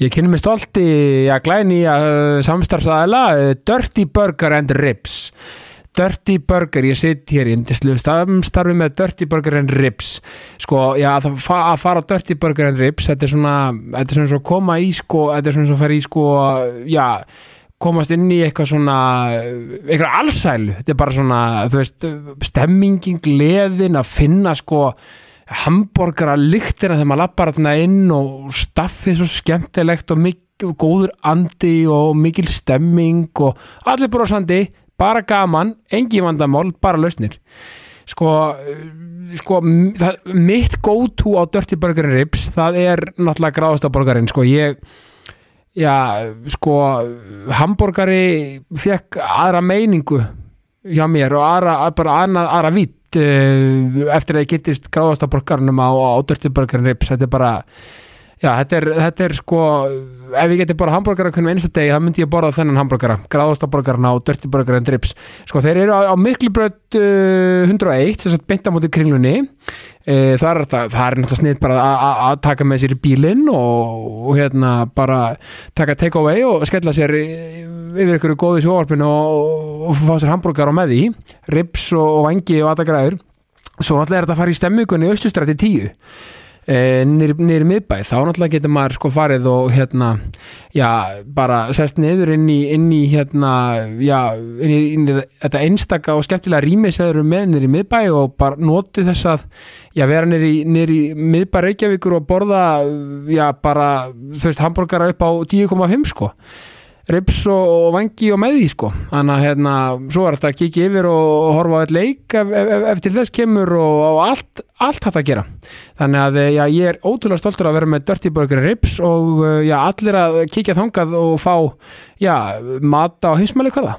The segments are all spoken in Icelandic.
Ég kynni mig stolt í að glæni uh, samstarfsaðala uh, Dirty Burger and Ribs Dirty Burger, ég sitt hér í indislu samstarfi með Dirty Burger and Ribs sko, já, að, fa að fara á Dirty Burger and Ribs, þetta er svona þetta er svona svo koma í sko þetta er svona svo fara í sko, já komast inn í eitthvað svona eitthvað allsælu, þetta er bara svona þú veist, stemmingin, gleðin að finna sko hambúrgara lyktina þegar maður lappar þarna inn og staffið svo skemmtilegt og mik- og góður andi og mikil stemming og allir brosandi, bara gaman engi vandamál, bara lausnir sko, eh, sko m- það, mitt go-to á Dirty Burger and Ribs, það er náttúrulega gráðasta borgarinn, sko, ég já, sko hambúrgari fekk aðra meiningu hjá mér og aðra, að- bara annað, aðra vitt uh, eftir að ég getist gráðasta borgarnum á, á dörtiborgarn rips, þetta er bara já, þetta er, þetta er sko ef ég geti borða hambúrgara hvernig einsta degi þá myndi ég borða þennan hambúrgara, gráðasta borgarna á dörtiborgarn rips, sko þeir eru á, á miklubröð uh, 101 þess að beinta móti kringlunni e, það, er, það, það er náttúrulega snitt bara að- að- að taka með sér í bílinn og, og hérna bara taka take away og skella sér í- yfir ykkur góðu sjóvarpinu og, og fá sér hambúrgar á með því rips og, og vangi og aðagræður svo náttúrulega er þetta að fara í stemmingunni austustrætti 10 e, nýri miðbæ þá náttúrulega getur maður sko farið og hérna já, bara sest niður inn í, inn í hérna, já, inn í, inn í þetta einstaka og skemmtilega rými sem þeir eru með niður í miðbæ og bara notið þess að, já, vera niður í, niður í miðbæ Reykjavíkur og borða, já, bara, þú veist, hambúrgara upp á 10,5 sko rips og, og vangi og með því sko þannig að hérna, svo er þetta að kikið yfir og, og horfa á eitt leik ef, ef, ef, ef til þess kemur og, og allt, allt hægt að gera þannig að eh, já, ég er ótrúlega stoltur að vera með Dirty Burger and Rips og eh, já, allir að kikið þangað og fá já, mat á heimsmæli hvaða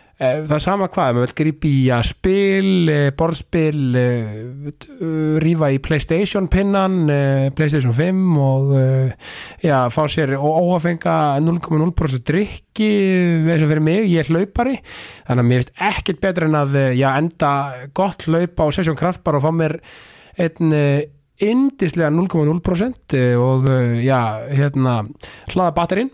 Það er sama hvað, maður vil grípa í að spil, eh, borðspil, eh, t- eh, rífa í Playstation pinnan, eh, Playstation 5 og eh, já, fá sér óhafenga 0,0% drikki eh, eins og fyrir mig, ég er hlaupari þannig að mér finnst ekkert betur en að eh, já, enda gott hlaup á Session Kraftbar og fá mér einn eh, yndislega 0,0% eh, og eh, já, hérna hlaða batterinn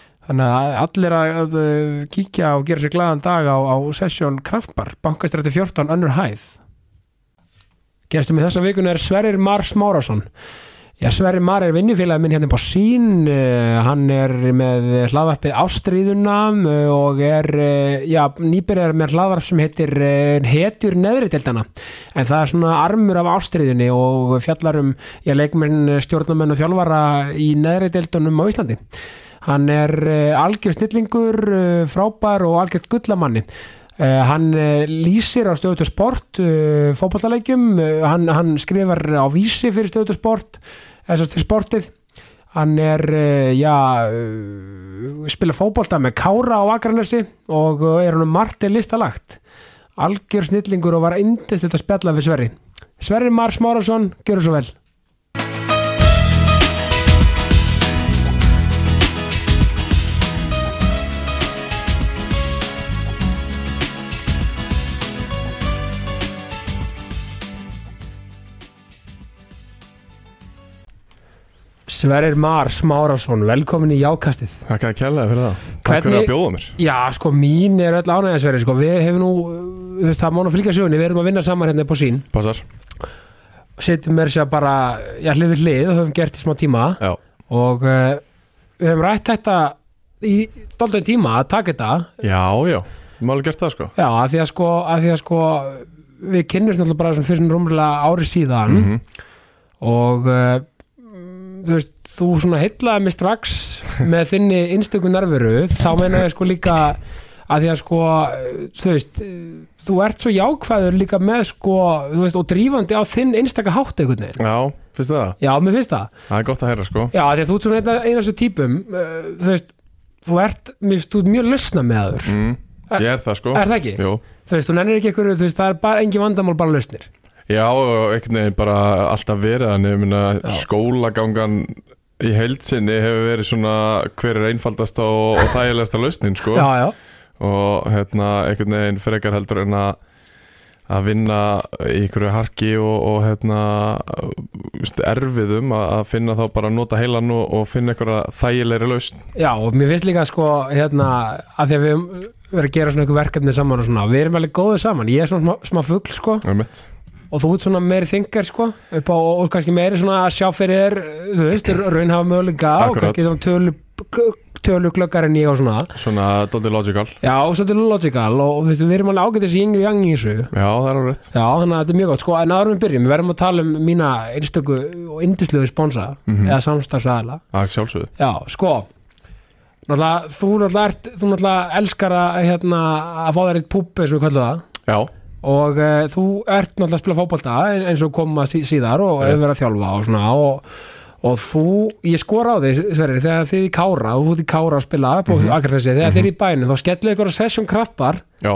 þannig að allir að, að eh, kíkja og gera sér glaðan dag á, á Session Kraftbar, bankastræti 14, önnur hæð Gestum í þessa vikuna er Sverrir Mar Smárasson Já, Sverri Mar er vinnifélagi minn hérna upp á sín, uh, hann er með hlaðvarpið Ástríðuna eh, og er, uh, já, nýbyrjar með hlaðvarp sem heitir uh, Hetjur neðri deildana, en það er svona armur af Ástríðunni og fjallar um, já, leikmenn, stjórnamenn og þjálfara í neðri deildunum á Íslandi. Hann er uh, algjör snillingur, uh, frábær og algjör gullamanni. Uh, hann uh, lýsir á stöðutu sport uh, fótballaleikjum, uh, hann, hann skrifar á vísi fyrir stöðutu sport þess að fyrir sportið hann er, uh, já uh, spila fótbolta með Kára á Akranesi og uh, er hann um margt er listalagt algjör snillingur og var indist þetta spjalla við Sverri Sverri Mars Márasson, gjörðu svo vel Sverri Mars Márasson, velkomin í jákastið Takk að kella fyrir það Takk fyrir Hvernig- að bjóða mér Já, sko, mín er öll ánægðansverði, sko, við hefum nú, þú veist, það má nú flika sögunni, við erum að vinna saman hérna upp á sín, Passar setjum mér sér bara, já, hlið við hlið, það höfum gert í smá tíma Já og uh, við höfum rætt þetta í doldum tíma að taka þetta, Já, já Máli gert það sko já, að því að sko, að því að sko, við kynnumst náttúrulega bara sem fyrir svona rúmlega ári síðan Mhm. og uh, þú veist, þú svona heitlaði mig strax með þinni einstöku nærveru þá meina ég sko líka að því að sko, þú veist þú ert svo jákvæður líka með sko, þú veist, og drífandi á þinn einstaka hátt einhvern veginn. Já, finnst þið það? Já, mér finnst það. Það er gott að heyra sko Já, af því að þú ert svona eina, eina svo típum uh, þú veist, þú ert, mér finnst þú ert mjög lausna með aður. mm, Ég er það sko Er það ekki? Jú. Þú veist, þú nennir ekki einhverju, þú veist, það er bara engin vandamál bara lausnir. Já, og einhvern veginn bara alltaf verið þannig, ég meina Já. skólagangan í heildsinni hefur verið svona hver er einfaldasta og, og þægilegasta lausnin sko Já, já. og hérna einhvern veginn frekar heldur en að að vinna í einhverju harki og, og hérna veist, erfiðum að, að finna þá bara að nota heilan og, og finna einhverja þægilegri lausn Já, og mér finnst líka sko hérna, að því að við höfum verið að gera svona einhver verkefni saman og svona, við erum alveg góðið saman ég er svona smá, smá fugl sko Einmitt. og þú ert svona meiri þingar sko upp á, og, og kannski meiri svona að sjá fyrir þér þú veist, raunhafa möguleika og Akkurat. kannski svona tölu, tölu glöggar en ég og svona Svona dotty logical Já, og svolítið logical og, og þú veist, við erum alveg ágætis í yngi og jangi í þessu Já, það er alveg rétt Já, þannig að þetta er mjög gott, sko, en áður en við byrjum við verðum að tala um mína einstöku og indislegu sponsa Mm. eða samstarfsaðala Það er Mhm. sjálfsögðu Já, sko náttúrulega, þú náttúrulega, ert, þú náttúrulega elskar að, hérna, að fá þér eitt púpp eins og við kallum það Já, og e, þú ert náttúrulega að spila fótbolta en- eins og koma sí, síðar og Rétt. hefur verið að þjálfa og svona og, og þú, ég skora á því Sverri, þegar þið í Kára, þú ert í Kára að spila upp á mm Akranesi, þegar þið er í bænum þá skellu ykkur á session kraftbar já,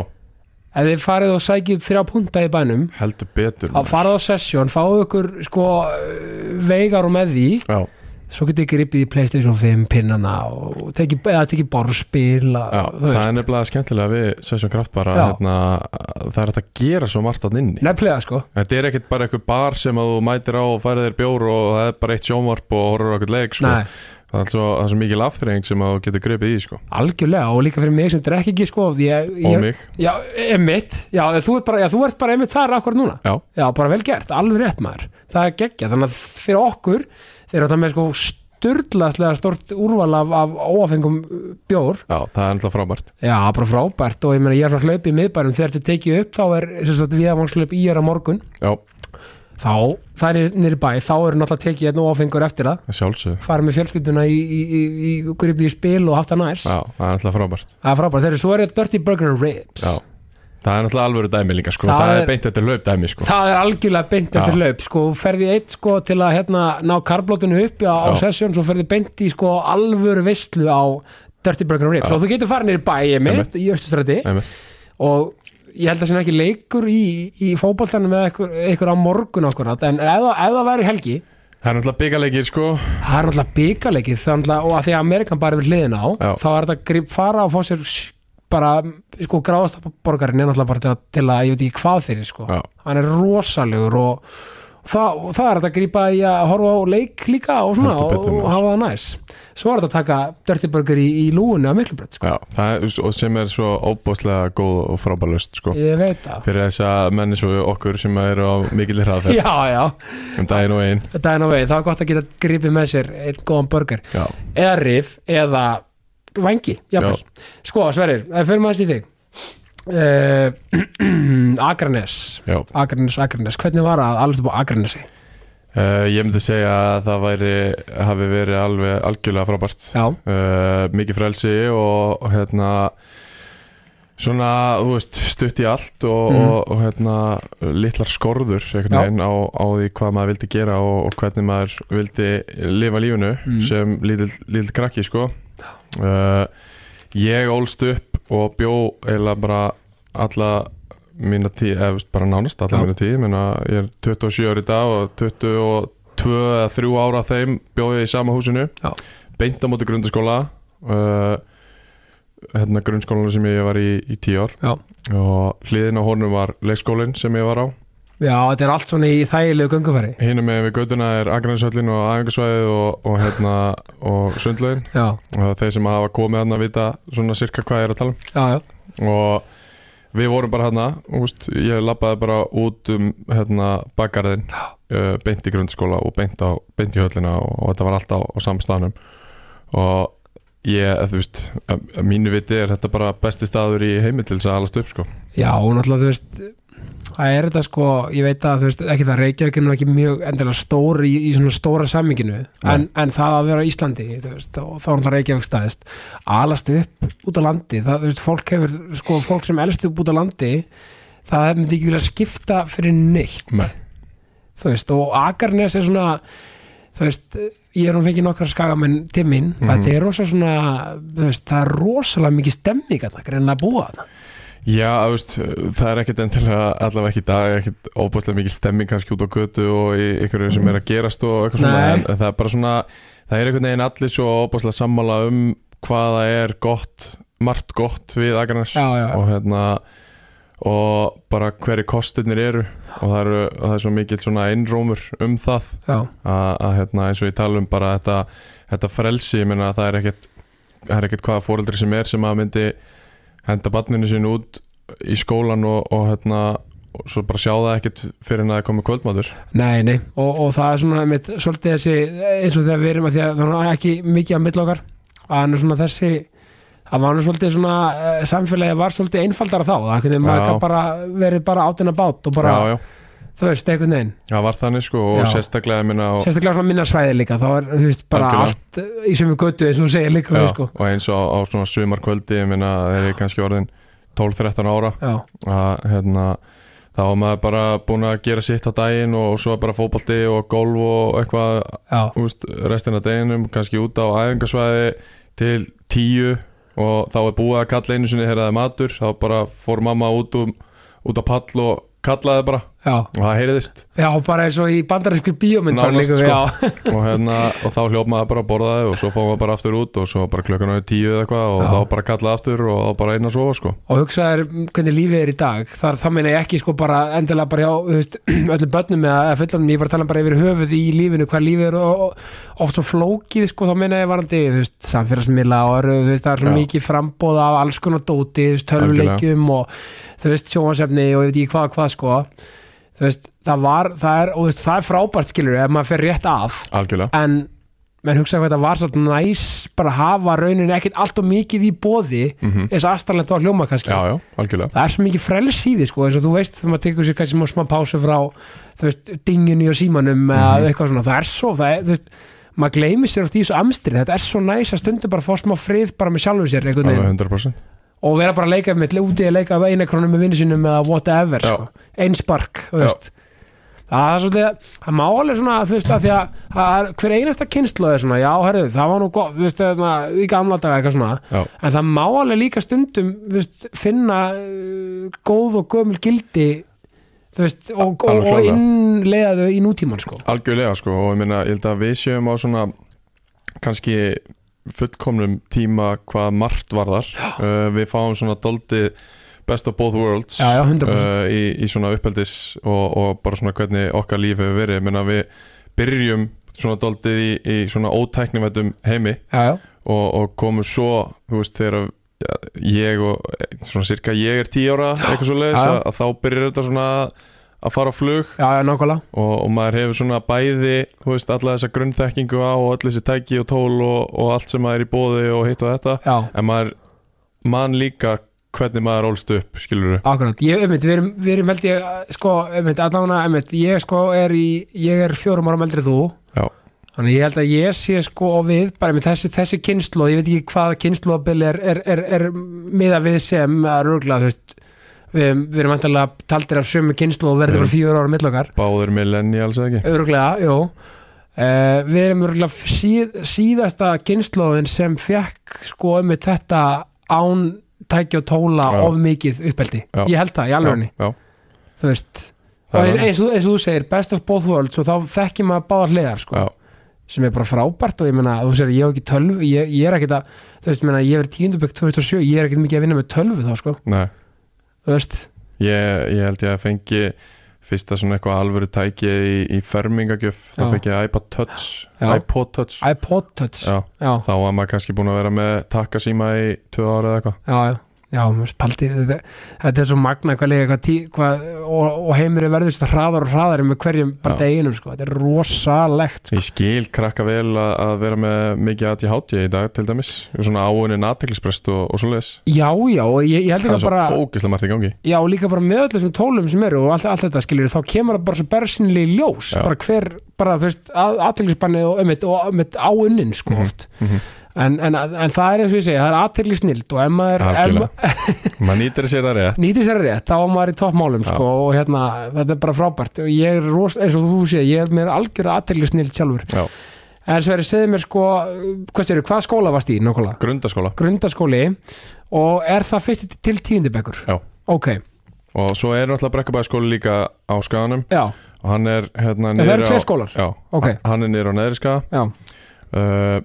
ef þið farið og sækið þrjá punta í bænum heldur betur að farað á session, fáðu ykkur sko eh, veigar og með því Já, svo getið gripið í Playstation 5 pinnana og tekið, eða tekið borðspil já og- þú það er veist, nefnilega skemmtilega við Sessjón Kraft bara Já. hérna, að það er hægt að gera svo margt að inni nefnilega sko Þetta er ekkert bara einhver bar sem að þú mætir á og færið þér bjór og það er bara eitt sjónvarp og horfur okkur leik sko. Nei, Það er svo, það er svo mikil afþreying sem að þú getur gripið í sko. algjörlega og líka fyrir mig sem drekk ekki sko ég, Og ég, mig já, emitt, já, þú ert bara, já, þú ert bara emitt þar akkur núna Já, já, bara vel gert, alveg rétt maður það er geggja, þannig að fyrir okkur þeir eru þetta með sko sturdlaslega stort úrval af, af óafengum uh, bjór já það er náttúrulega frábært Já, bara frábært og ég meina ég er svona hlaupið í miðbærum þegar þetta er tekið upp þá er sem sagt við að vannslaup í er á morgun Já, þá, það er nýri bæ þá eru náttúrulega tekið einn og áfengur eftir það sjálfsögðu farið með fjölskylduna í, í, í, í gripið í spil og haft það næs Já, það er náttúrulega frábært það er frábært, þeir eru svo er ég Dirty Burger and Ribs Já. Það er náttúrulega alvöru dæmi líka sko. Það það, er- er beint eftir laup dæmi sko. það er algjörlega beint Já. eftir laup sko, þú ferði eitt sko til að hérna, ná karblótinu upp á, á Já. sesjón, svo ferði beint í sko alvöru veistlu á Dirty Burger and Ribs Já. og þú getur farið nýri bæ ég mitt, í Östustræti Einmitt. og ég held að það sé ekki leikur í, í fótboltanum með ykkur, ykkur á morgun okkur en ef, það- ef það væri helgi Það er náttúrulega byggalegir sko. Það er náttúrulega byggalegið og að því að Amerikan bara er við hliðin á Já. þá er þetta grip fara og fá sér sh- bara sko gráðast borgarinn er náttúrulega bara til að, til að ég veit ekki hvað fyrir sko Já. hann er rosalegur og það, og það er þetta að grípa í að horfa á leik líka og, svona, Heldur og, betur, og maður. hafa það næs svo er þetta að taka Dirty Burger í, í lúinu að miklu brett sko. Já, það er, og sem er svo óbúslega góð og frábælust sko. ég veit það fyrir þess að menni svo okkur sem eru á mikill hraðferð já já, um daginn og einn þetta er nú veginn það er gott að geta grípið með sér einn góðan burger Já, eða rif eða vangi, jafnvel sko Sverrir, það fyrir maður í þig uh, Akranes já. Akranes, Akranes, hvernig var að alveg upp á Akranesi? Uh, ég myndi segja að það væri hafi verið alveg algjörlega frábært Já, uh, mikið frelsi og, og hérna svona, þú veist, stutt í allt og, Mhm. og, og hérna litlar skorður einhvern Já. veginn á, á því hvað maður vildi gera og, og hvernig maður vildi lifa lífinu Mhm. sem lítill lítill krakki sko uh, ég ólst upp og bjó eiginlega bara alla mína tíð, eða þú veist, bara nánast alla Já. mína tíð, minna, ég er 27 ári í dag og 22 eða 3 ára af þeim bjóði ég í sama húsinu Já. beint á móti grundaskóla uh, hérna grunnskólanum sem ég var í í 10 ár Já. og hliðin á honum var leikskólinn sem ég var á já þetta er allt svona í þægilegu göngufæri hinum með við göduna er Akraneshöllin og æfingasvæðið og, og, hérna, og sundlaugin Já, og þeir sem hafa komið hann að vita svona sirka hvað ég er að tala um já, já, og við vorum bara hérna úst, ég labbaði bara út um hérna, bakgarðin uh, beint í grundskóla og beint, á, beint í höllina og, og þetta var allt á, á samstæðanum og ég, eða þú veist að, að mínu viti er þetta bara besti staður í heimi til þess að alast upp sko. já, og náttúrulega þú veist það er þetta sko, ég veit að þú veist ekki það Reykjavík er nú ekki mjög endilega stór í, í svona stóra samminginu en, en það að vera á Íslandi, þú veist og þá er það Reykjavík staðist, alast upp út á landi, það, þú veist, fólk hefur sko, fólk sem elst upp út á landi það myndi ekki vilja skipta fyrir neitt Nei. þú veist, og Akarnes er svona þú veist, ég er hún fengið nokkra skagamenn til mín, Mhm. þetta er rosa svona þú veist, það er rosalega mikið stemming að það greina að búa þarna Já, þú veist, það er ekkit endilega allavega ekki í dag, ekkit óbúðslega mikið stemming kannski út á götu og í ykkur sem er að gerast og eitthvað svona Nei. en, en það er bara svona, það er einhvern veginn allir svo óbúðslega sammála um hvaða er gott, margt gott við Akranes Já, já. og hérna og bara hverju kostirnir eru og það, eru, og það er svo mikill svona innrómur um það já, að, að hérna, eins og ég tala um bara þetta, þetta frelsi, ég meina að það er ekkert það er ekkert hvaða fóreldri sem er sem að myndi henda barninu sín út í skólan og, og hérna og svo bara sjá það ekkert fyrir en að það komi kvöldmátur nei, nei og, og það er svona mitt, svolítið þessi eins og þegar við erum að því að það er ekki mikið að milli okkar, að hann er svona þessi það var nú svolítið svona eh, samfélagið var svolítið einfaldara þá, það hvernig maður Já. gat bara verið bara átina bát og bara, já, já, þú veist, einhvern veginn það var þannig sko og Já. sérstaklega ég meina og, sérstaklega svona minna svæði líka þá er, þú veist, bara Algjörlega. allt í sömu götu eins og þú segir líka, já, við, sko og eins og á, á svona sumarkvöldi ég meina þegar ég kannski orðin 12-13 ára já, að hérna þá var maður bara búin að gera sitt á daginn og, og svo bara fótbolti og golf og eitthvað já, úst, restina af deginum kannski út á æfingasvæði til tíu og þá er búið að kalla einu sinni þegar það er matur þá bara fór mamma út, um, út á pall og kallaði bara já og það heyriðist Já, bara eins og í bandarísku bíómynd bara Nánast, líka við, sko. já, og, hérna, og þá hljóp maður bara að borða það og svo fór maður bara aftur út og svo bara klukkan á tíu eða eitthvað og Já. þá bara kallaði aftur og þá bara einn að sofa sko og hugsaðir hvernig lífið er í dag þar þá meina ég ekki sko bara endilega bara hjá þú veist, öllum börnum eða eða fullanum ég var að tala um bara yfir höfuð í lífinu hvað lífið er og, og oft svo flókið sko þá meina ég varandi þú veist, samfélagsmiðla og eru, þú veist, það er svo Já. mikið frambóð af alls konar dóti þú veist, tölvuleikjum og þú veist, sjóhansefni og ég veit ekki hvað hvað sko þú veist, það var, það er, og, þú veist, það er frábært skilur ef maður fer rétt að algjörlega en menn hugsa hvað þetta var svolítið næs bara að hafa rauninni ekkert allt og mikið í bóði mm Mhm. -hmm. eins aðstæðanlegt var að hljóma kannski já, já, algjörlega það er svo mikið frels í því sko eins og þú veist þegar maður tekur sér kannski smá- smá pásu frá þú veist dinginni og símanum Mhm. eða eitthvað svona það er svo það er, þú veist maður gleymir sér oft í þessu amstrið þetta er svo næs að stundu bara að fá smá frið bara með sjálfu sér einhvern alveg veginn 100% og vera bara að leika með úti að leika af eina krónum með vinnu sínum eða whatever Já. sko. einspark Já. það er svolítið það má alveg svona þú veist að því að, að hver einasta kynslu er svona já herru það var nú gott þú veist þarna, í gamla daga eitthvað svona já, en það má alveg líka stundum þú veist, finna uh, góð og gömul gildi þú veist og, Alveg og, og klárlega. innleiða þau í nútíman sko algjörlega sko og ég meina, ég held að við séum á svona kannski fullkomnum tíma hvað margt varðar uh, við fáum svona doldið best of both worlds já já 100% uh, í, í svona uppeldis og, og bara svona hvernig okkar líf hefur verið Ég meina, við byrjum svona doldið í, í svona ótæknivættum heimi já já og, og komum svo þú veist þegar ja, ég og svona cirka ég er tíu ára eitthvað svo leiðis Já, já. að, að þá byrjar þetta svona að fara á flug já já nákvæmlega og, og maður hefur svona bæði þú veist, alla þessa grunnþekkingu á og öll þessi tæki og tól og, og allt sem maður er í bóði og hitt og þetta já en maður man líka hvernig maður ólst upp, skilur Akkurat, ég, einmitt, við erum, við erum held ég, sko, einmitt, allavega, einmitt, ég sko er í, ég er fjórum árum eldri en þú, Já, þannig ég held að ég sé sko og við, bara einmitt þessi, þessi kynslu, ég veit ekki hvað kynsluabil er, er, er, er miða við sem að rúgla, þú veist, við, erum- við erum vantanlega taldir af sömu kynslu og verður Mm. bara fjórum árum millokar, báður millennials eða ekki öruglega, jú, uh, við erum öruglega síð, síðasta kynsluðin sem fekk sko einmitt þetta án tækja og tóla Já. of mikið uppeldi, Já. ég held það, í alveg henni já, já, þú veist og það eins, er hann. eins, og, eins og þú segir, best of both worlds og þá þekkir maður báðar hliðar sko, Já, sem er bara frábært og ég meina, þú segir, ég hef ekki tölv ég, ég er ekkit að, þú veist, meina, ég er tíundabökk 2007, ég er ekkit mikið að vinna með tölvu þá sko, nei þú veist ég, ég held ég að fengi fyrsta svona eitthvað alvöru tæki í, í fermingagjöf, þá Já. fekk ég iPod Touch Já. iPod Touch iPod Touch, já, Já, já, þá var maður kannski búin að vera með takkasíma í tvö ára eða eitthvað já, já, maður spaldi þetta, þetta er svo magna hvað liða, hvað tí, hvað, og, og heimurinn verður svo hraðar og hraðar með hverjum bara Já. deginum, sko, þetta er rosalegt sko. Ég skil krakka vel að, að vera með mikið aðti hátja í dag til dæmis svona áunni natiklisprest og, og svo leiðis já, já, og ég, ég held Það er líka svo bara ógislega margt í gangi já, og líka bara með öllum þessum tólum sem eru og allt, allt þetta skilur, þá kemur það bara svo bersinlega í ljós, Já. bara hver bara, þú veist, aðteglisbannið og ömmitt og ömmitt áunnin, sko, Mhm, oft mhm. en, en, en það er eins og ég segja, það er aðteglisnild og ef maður, ef, Algjörlega. ma- Maður nýtir sér það rétt nýtir sér rétt, þá var maður í toppmálum Já. sko, og hérna, þetta er bara frábært og ég er rost, eins og þú sé, ég er mér algjör aðteglisnild sjálfur, Já. en svo er ég segið mér sko, hvað séru, hvað skóla varst í nákvæmlega? Grundaskóla Grundaskóli og er það fyrst til tíundibekkur? Já. Ok, og svo er náttúrulega brekkabæðaskóla líka á skaganum já, og hann er hérna en það niður eru á- tveir skólar Já, Ok, hann er niður á neðri skaga já, uh,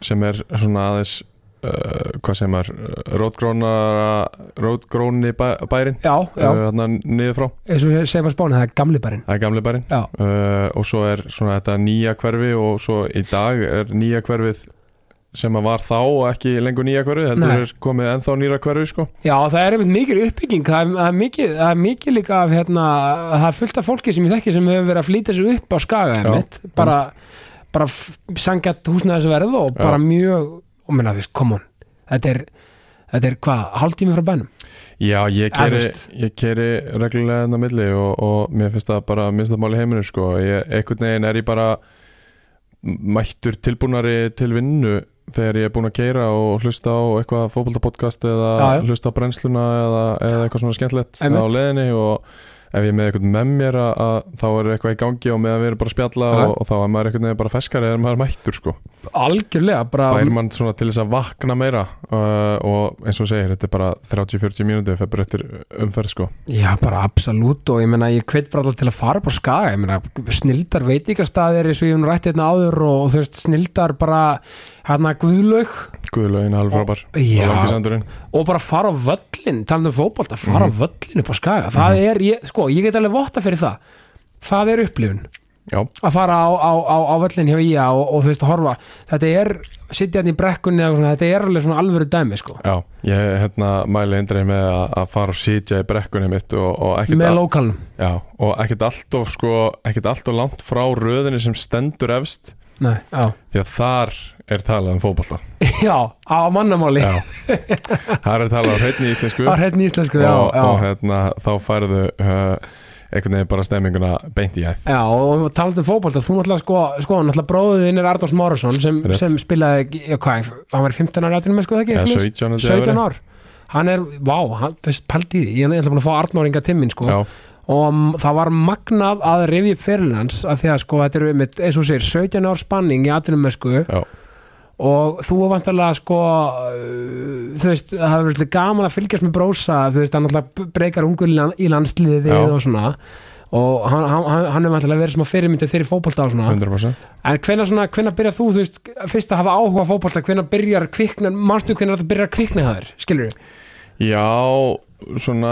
sem er svona aðeins uh, hvað sem er rótgróna rótgróni bæ, bærin já, já uh, hérna niður frá, eins og segja maður spáni, það er gamli barinn það er gamli bærin Já, uh, og svo er svona þetta nýja hverfi og svo í dag er nýja hverfið sem að var þá og ekki lengur nýja hverfið, heldur Nei. er komið ennþá nýra hverfið sko, já það er einmitt mikil uppbygging það er, það er, mikið, það er mikið líka af hérna, það er fullt af fólki sem ég þekki sem hefur verið að flýta sér upp á skaga Já, einmitt, bara, bara sangjart húsnæðisverð og Já. bara mjög og minna, þú veist, come on þetta er, þetta er hvað, hálftími frá bænum já Ja, ég þú keri, veist. ég keri reglulega enn á milli og, og mér finnst það bara minnst það máli heiminu sko, ég, einhvern veginn er ég bara mættur tilbúnari til vinnu þegar ég er búinn að keira og hlusta á eitthvað fótboltapodcast eða Já, já. hlusta á brennsluna eða, eða eitthvað svona skemmtlegt á Einmitt. leðinni og ef ég er með eitthvað með mér að, að þá er eitthvað í gangi og meðan við erum bara að spjalla Já. og, og þá er maður einhvern veginn bara feskari eða maður er mættur sko algjörlega, bara fær mann svona til þess að vakna meira uh, og eins og þú segir, þetta er bara 30-40 mínúti fyrir bara eftir umferð sko Já, bara absolutt og ég meina ég kveit bara alltaf til að fara upp á skaga ég meina snildar veitingastaðir eins og ég hún rætti hérna áður og, og þú veist snildar bara hérna guðlaug Guðlaugin halvfrábar Já. og langisandurinn og bara fara á völlin talandi um fótbolta, fara á Mhm. völlin upp á skaga það er, ég, sko, ég get alveg votta fyrir það það er upplifun Já, að fara á, á, á, á völlin hjá IA og, og þú veist að horfa, þetta er sitjandi í brekkunni eða eitthvað svona, þetta er alveg svona alvöru dæmi sko, já, ég hérna mæli eindreið með að, að fara og sitja í brekkunni mitt og, og ekkert með að- lókalnum Já, og ekkert alltof sko, ekkert alltof langt frá röðinni sem stendur efst Nei, já. því að þar er talað um fótballa já, á mannamáli Já, þar er talað á hreinni íslensku á hreitni íslensku, já, og, já. og hérna, þá færðu uh, einhvern veginn bara stemminguna beint í æð Já, og talandi um fótbolta, þú náttúrulega sko, sko náttúrulega bróðið þinn er Arnórs Márusson sem, Rétt. sem spilaði, já, hvað, hann var í 15 ára aðtunum, sko, ekki? Eða Eitthvað 17 leys? held ég 17 hafi verið. ár. Hann er, vá, hann, þú veist, paldi í því, ég er náttúrulega búin að fá Arnóringa timmin, sko, Já, og mm, það var magnað að rifja upp fyrir hans, af því að, sko, þetta eru, einmitt, eins og þú segir, 17 ár spanning í aðtunum, sko, já, og þú var vantarlega, sko, uh, þú veist, það hefur verið svolítið gaman að fylgjast með brósa, þú veist, hann náttúrulega breykar ungur í lan- í landsliðið Já. og svona, og hann, hann, hann er vantarlega verið sem að fyrirmyndið þeirri fótbolta og svona 100% En hvenær svona, hvenær byrjar þú, þú veist, fyrst að hafa áhuga á fótbolta, hvenær byrjar kvikna, manstu hvenær þetta byrjar að kvikna það er, skilur við? Já, svona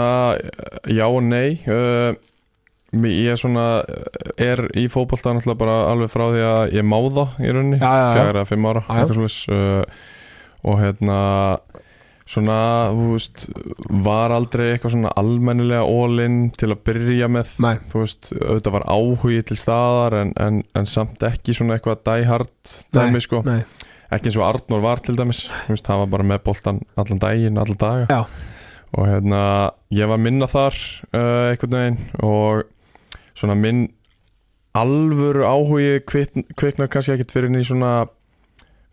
já og nei uh, mér- ég svona uh, er í fótbolta náttúrulega bara alveg frá því að ég má það í rauninni, Já, já, já. fjara að fimm ára Já, já. eitthvað svolítið uh, og hérna svona, þú veist var aldrei eitthvað svona almennilega all-in til að byrja með Nei. þú veist, auðvitað var áhugi til staðar en, en, en samt ekki svona eitthvað die hard dæmi sko Nei, ekki eins og Arnór var til dæmis Þú veist, það var bara með boltan allan daginn, allan daga Já. og hérna ég var minna þar uh, einhvern veginn og svona minn alvöru áhugi kvitn, kviknar kannski ekkert fyrir inn í svona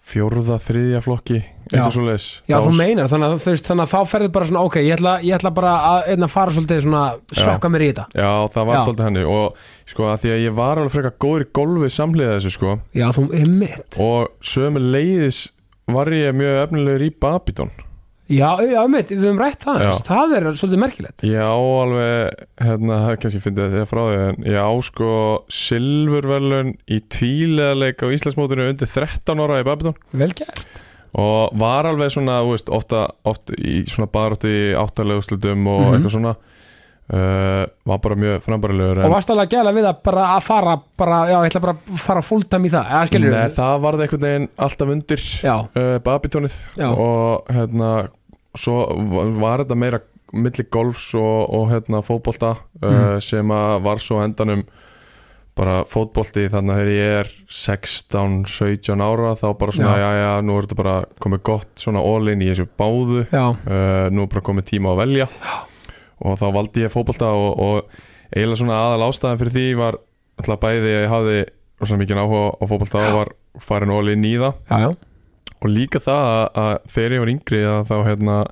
fjórða, þriðja flokki Já. eitthvað svo leis já þú meinar, þannig að þú veist, þannig að þá ferðu bara svona, ok, ég ætla, ég ætla bara að einna fara svolítið svona, sökka mér í þetta. já, það var Já. alltaf henni og sko að því að ég var alveg frekar góður í golfi samlega þessu sko Já, þú er mitt. og sömu leiðis var ég mjög efnilegur í Babydon Já, já, mitt, við höfum rætt það, Já. veist, það er svolítið merkilegt. Ég á alveg, hérna, það er kannski fyndið að segja frá því, en ég á sko silfurverlun í tvíleðarleik á Íslandsmótinu undir 13 ára í Babylon Vel gert. og var alveg svona, þú veist, ofta, ofta í svona baróttu í áttalegu slutum og Mhm. eitthvað svona, uh, var bara mjög frambarilegur. Og varst alveg að gæla við að bara að fara, bara, já, ég ætla bara að fara fulltime í það, eða skilur Nei, það varði einhvern veginn alltaf undir Já, uh, Babytonið Já. og Eh, hérna svo va- var þetta meira milli golfs og, og hérna fótbolta Mm. uh, sem að var svo á endanum bara fótbolti þannig að þegar ég er 16, 17 ára þá bara Já. svona, já, já, nú er þetta bara komið gott svona all-in í þessu báðu já, uh, nú er bara komið tíma að velja og þá valdi ég fótbolta og, og eiginlega svona aðal ástæðan fyrir því var alltaf bæði að ég hafði rosalega mikið áhuga á fótbolta og var farin all-in í það já, já, og líka það að, að þegar ég var yngri að þá hérna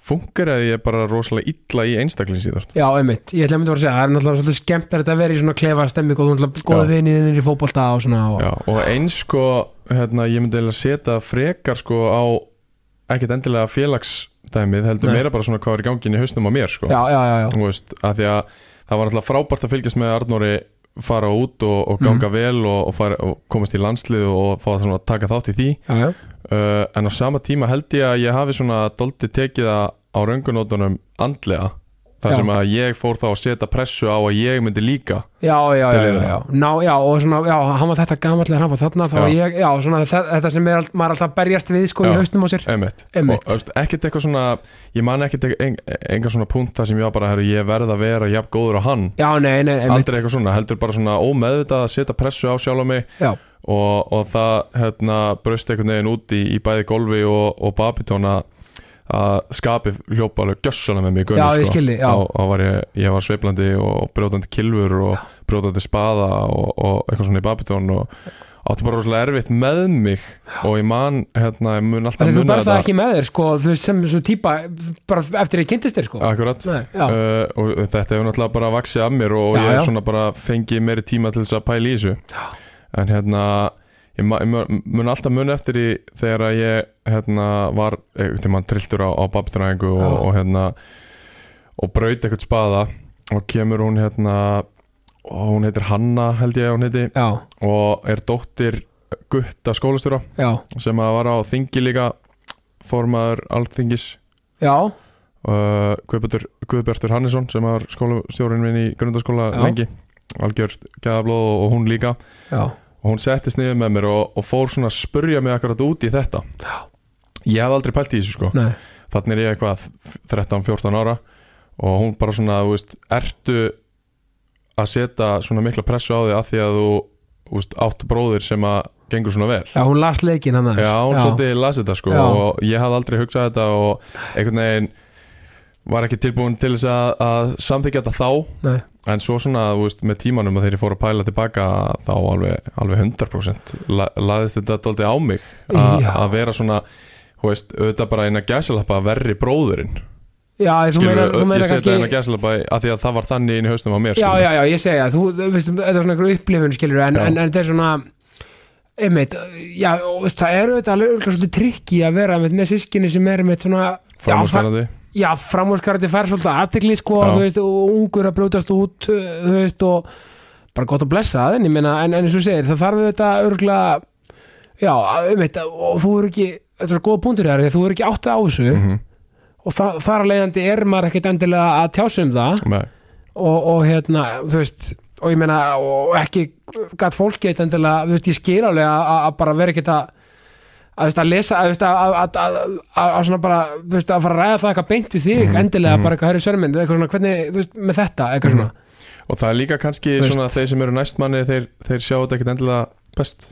fungeraði ég bara rosalega illa í einstaklingsíðart já, einmitt ég ætla einmitt að fara að segja, það er náttúrulega svolítið skemmt að þetta veri í svona klefa stemming og þú náttúrulega Já. góða vinið þinnir í fótbolta og svona og, Já, og eins sko hérna, ég myndi eiginlega setja frekar sko á ekkert endilega félagsdæmið heldur Nei. meira bara svona hvað er í gangin í hausnum á mér sko já, já, já, já, Þú veist, að því að það var alltaf frábært að fylgjast með Arnóri fara út og, og ganga Mhm. vel og, og, fara, og komast í landslið og fá svona að taka þátt í því já, já. uh, en á sama tíma held ég að ég hafi svona doldið tekið það á röngunótunum andlega þar Já. sem að ég fór þá að setja pressu á að ég myndi líka Já, já, Til já, já, liðina. já. Ná, já, og svona, já, hann var þetta gamallega, hann var þarna, þá Já. var ég, já, svona þe- þetta sem er, allt- maður er alltaf að berjast við, sko, í Já. haustum á sér. emitt, Einmitt. og veist, ekkert eitthvað svona ég man ekkert eitthvað- en, enga svona punta sem ég var bara, herru, ég verð að vera jafn góður á hann Já, nei, nei, einmitt. aldrei eitthvað svona, heldur bara svona ómeðvitað að setja pressu á sjálf á mig Já, og, og það hérna, braust einhvern veginn út í, í bæði golfi og, og Babiton að að skapi hljópa alveg gjössuna með mig sko. í já, gunni, ég skildi, já, þá, þá var ég, ég var sveiflandi og brjótandi kilfur og brjótandi spaða og, og eitthvað svona í Babitón og átti bara rosalega erfitt með mig og ég man, hérna, ég mun alltaf Þegar þú muna berð það ekki með þér, sko, þú veist, sem svo típa, bara eftir ég kynntist þér, sko. akkurat Nei, já, Uh, og þetta hefur náttúrulega bara vaksið af mér og Já, ég já. hef svona bara fengið meiri tíma til þess að pæla í þessu en hérna ég ma- ég mun mun alltaf mun eftir í þegar að ég hérna var eh, þegar maður trilltur á, á babitræðingu og, Já. og hérna og braut eitthvað spaða og kemur hún hérna og hún heitir Hanna held ég að hún heiti já, og er dóttir Gutta skólastjóra já, sem að var á þingi líka formaður alþingis já, uh, Guðbjartur, Guðbjartur Hannesson sem var skólastjórinn minn í grundaskóla Já. lengi algjört gæðablóð og, og hún líka já, og hún settist niður með mér og, og fór svona að spurja mig akkurat út í þetta Já. ég hef aldrei pælt í þessu sko nei, þannig er ég eitthvað 13-14 ára og hún bara svona, þú veist, ertu að setja svona mikla pressu á þig að því að þú, þú veist, átt bróðir sem að gengur svona vel já, hún las leikinn hann aðeins. Já, hún svolítið lasi þetta sko Já. og ég hafði aldrei hugsað þetta og einhvern veginn var ekki tilbúin til þess að, að samþykja þetta þá Nei. en svo svona, þú veist, með tímanum að þegar ég fór að pæla tilbaka þá alveg, alveg 100% la, laðist þetta dóldi á mig að Já. að vera svona þú veist, auðvitað bara eina gæsalappa verri bróðurinn Já, þú Skilur, meinar, þú ég meinar segi þetta eina kannski, gæsalappa að því að það var þannig inn í haustum á mér já, skilur. já, já, ég segja, þú, þú veist, þetta er svona einhver upplifun, skilur, en, Já. en, en þetta er svona, einmitt, já, og það er auðvitað alveg örugglega svolítið trikki að vera einmitt, með sískinni sem er einmitt svona, já, fa- Framúrskarandi. já, framúrskarandi fær svolítið aðtekli, sko, Já. þú veist, og ungur að brjótast út, uh, þú veist, og bara gott að blessa það, en ég meina, en, en eins og þú segir, það þarf auðvitað örgulega, já, einmitt, og þú eru ekki, þetta er svo góða punktur þar, því að þú eru ekki áttið á þessu, Mhm. og þa þar að leiðandi er maður ekkert endilega að tjása um það, Nei. og, og hérna, þú veist og ég meina, og ekki gætt fólki eitt endilega, þú veist, ég skil alveg að- að að bara vera ekkert að að, þú veist, að lesa, að, þú veist, að, að, að, að, að, að svona bara, þú veist, að fara að ræða það eitthvað beint við þig, endilega bara eitthvað hæri sörmynd eitthvað svona, hvernig, þú veist, með þetta, eitthvað svona og það er líka kannski Þú veist. svona að þeir sem eru næst manni þeir, þeir sjá þetta ekkert endilega best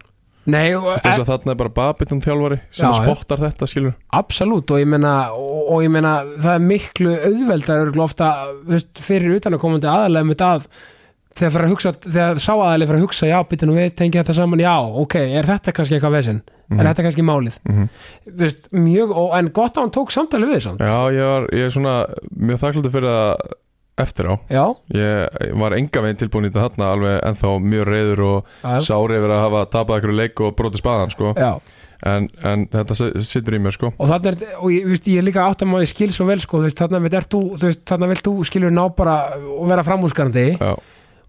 Nei, og, e- Þú veist að þarna er bara Babitum þjálfari sem Já, já, já. spottar þetta skilur Absolutt og ég meina og, og ég meina það er miklu auðveldar örugglega ofta þú veist, fyrir utanakomandi aðalega með það þegar, fer að hugsa, þegar sá aðalega fyrir að hugsa já, býtum við tengja þetta saman, já, ok er þetta kannski eitthvað vesinn, er þetta kannski málið Mhm. Þú veist, mjög, og, en gott að hann tók samtali við samt Já, ég, var, ég er svona mjög þakkláttur fyrir það eftir á já, Ég ég var enga veginn tilbúin í þetta þarna alveg ennþá mjög reyður og já, sári yfir að hafa tapað einhverju leik og brotið spaðan sko já. en, en þetta se- situr í mér sko og þannig er, og ég, þú veist, ég er líka áttam að ég skil svo vel sko, þú veist, þannig er þú, þú veist, þannig vilt þú skilur ná bara og vera framúskarandi Já,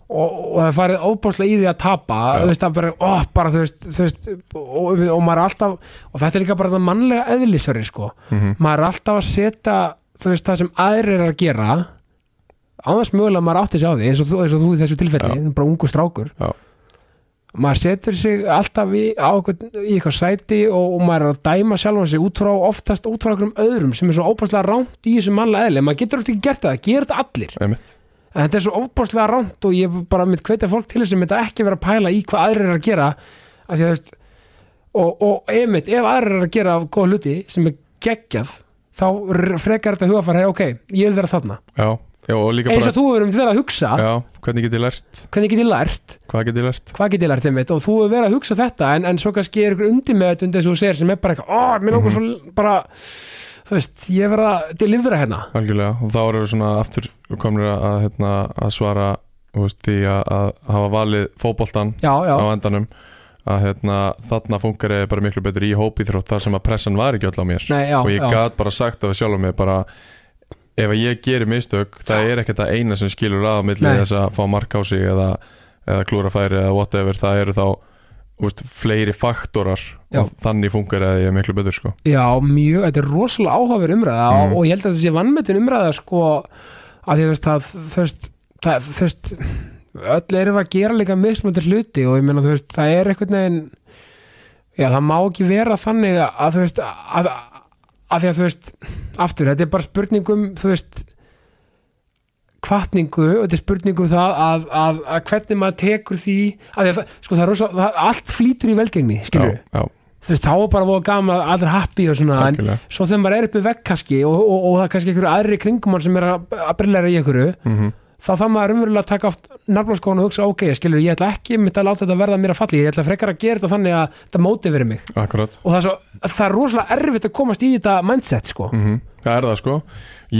og, og það er farið óbáslega í því að tapa Já. þú veist, það er bara, ó, bara þú veist, þú veist og, og, og maður er alltaf og þetta er líka bara það mannlega eðlisverið sko. Mhm. maður er alltaf að setja þú veist, það sem aðrir er að gera á þess mögulega að maður átti sig á því eins og þú, eins og þú í þessu tilfelli, bara ungu strákur Já. maður setur sig alltaf í, á, einhvern- í eitthvað sæti og, og maður er að dæma sjálfan sig út frá oftast út frá einhverjum öðrum sem er svo óbáslega rámt í þessu mannlega eðli maður getur oft ekki gert það, gera þetta allir einmitt en þetta er svo óbáslega rámt og ég bara mitt hvetja fólk til þess að þetta ekki vera að pæla í hvað aðrir eru að gera af því að þú veist og, og einmitt, ef aðrir eru að gera góða hluti sem er geggjað þá r- frekar þetta hugafar, hei ok, ég vil vera þarna Já, já og líka eins bara og þú verður um þeirra að hugsa Já, hvernig get ég lært, hvernig get ég lært, hvað get ég lært hvað get ég lært einmitt og þú hefur verið að hugsa þetta en, en svo kannski er ykkur undir með þetta undir þess að þú segir sem er bara eitthvað, ó, mér Mhm. langar svo bara þú veist, ég verða til yfirra hérna Algjörlega, og þá erum við svona aftur komnir að, að, hérna, að svara þú veist, því að, að hafa valið fótboltan já, já, á endanum að hérna, þarna funkar ég bara miklu betur í hópíþrótt þar sem að pressan var ekki öll á mér nei, já, og ég já. gat bara sagt af sjálf á mig bara ef að ég gerir mistök það er ekkert að eina sem skilur að á milli Nei. þess að fá mark á sig eða, eða klúra færi eða whatever það eru þá úst, fleiri faktorar Já. og þannig funkar að ég miklu betur sko. Já, mjög, þetta er rosalega áhugaverð umræða Mhm. og, og ég held að þetta sé vannmetin umræða sko, að því þú veist að þú veist, það, þú veist öll erum við að gera líka mismöndir hluti og ég meina þú veist, það er einhvern veginn já, það má ekki vera þannig að þú veist að, að því að þú veist, aftur þetta er bara spurningum, þú veist kvartningu og þetta er spurningum það að, að, að hvernig maður tekur því, að því að það, sko það er rosa það, allt flýtur í velgengni, skilur já, já, þú veist, þá er bara voða gaman að allir happy og svona, en algjörlega svo þegar maður er uppið vekk kannski og, og, og það er kannski einhverju aðri kringum hann sem er að, að brillera í einhverju mm þá þarf maður umverulega að taka oft nafnarskóðan og hugsa, ok, skilur, ég ætla ekki mitt að láta þetta verða mér að falli, ég ætla frekar að gera þetta þannig að þetta móti verið mig Akkurat og það er, svo, það er rosalega erfitt að komast í þetta mindset, sko, mm Það er það sko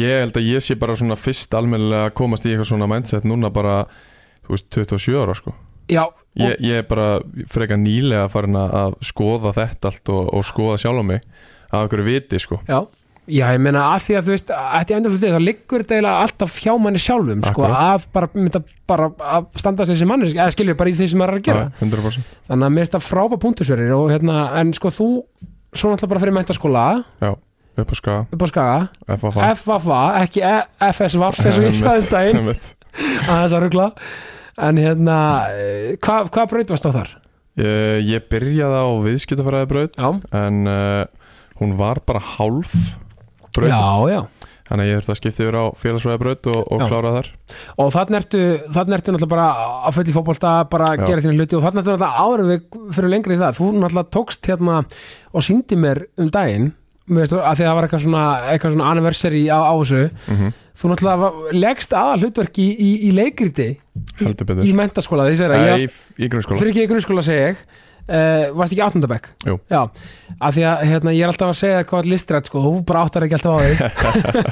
Ég held að ég sé bara svona fyrst almennilega að komast í eitthvað svona mindset núna bara þú veist, 27 ára sko já, og, Ég, ég er bara frekar nýlega farin að- að skoða þetta allt og, og skoða sjálf á mig að einhverju viti sko já Já, ég meina að því að þú veist, að þetta endur þú veist, þá liggur þetta eiginlega alltaf hjá manni sjálfum, sko, Akkúrat. að bara, mynda, bara að standa þessi manni, eða skilur bara í því sem maður er að gera. Já, 100% þannig að mér finnst það frábæ punktusverir og hérna, en sko þú svo náttúrulega bara fyrir mentaskóla upp á skaga, upp á Skaga, FFA FFA ekki e FSVAF eins og ég sagði um daginn Einmitt. að þess að ruggla en hérna, eh, hva, hvað braut varst á þar? ég, Eh, ég byrjaði á viðskiptafræðibraut Já, en uh, hún var bara hálf braut já, já þannig að ég þurfti að skipta yfir á félagsfræðibraut og, og Já. klára þar og þannig ertu, þannig ertu náttúrulega bara að fulli fótbolta, bara að Já. gera þínu hluti og þannig ertu náttúrulega áður við fyrir lengri í það þú náttúrulega tókst hérna og síndi mér um daginn, mér veist að því að það var eitthvað svona, eitthvað svona anniversary á, á þessu mm þú náttúrulega var- leggst aða hlutverk í, í, í leikriti heldur betur í mentaskóla því segir að Nei, ég í, í grunnskóla fyrir ekki í grunnskóla segi ég uh, varst ekki áttundabæk Jú. já, af því að hérna, ég er alltaf að segja þér hvað er listrætt sko, þú bara áttar ekki alltaf á því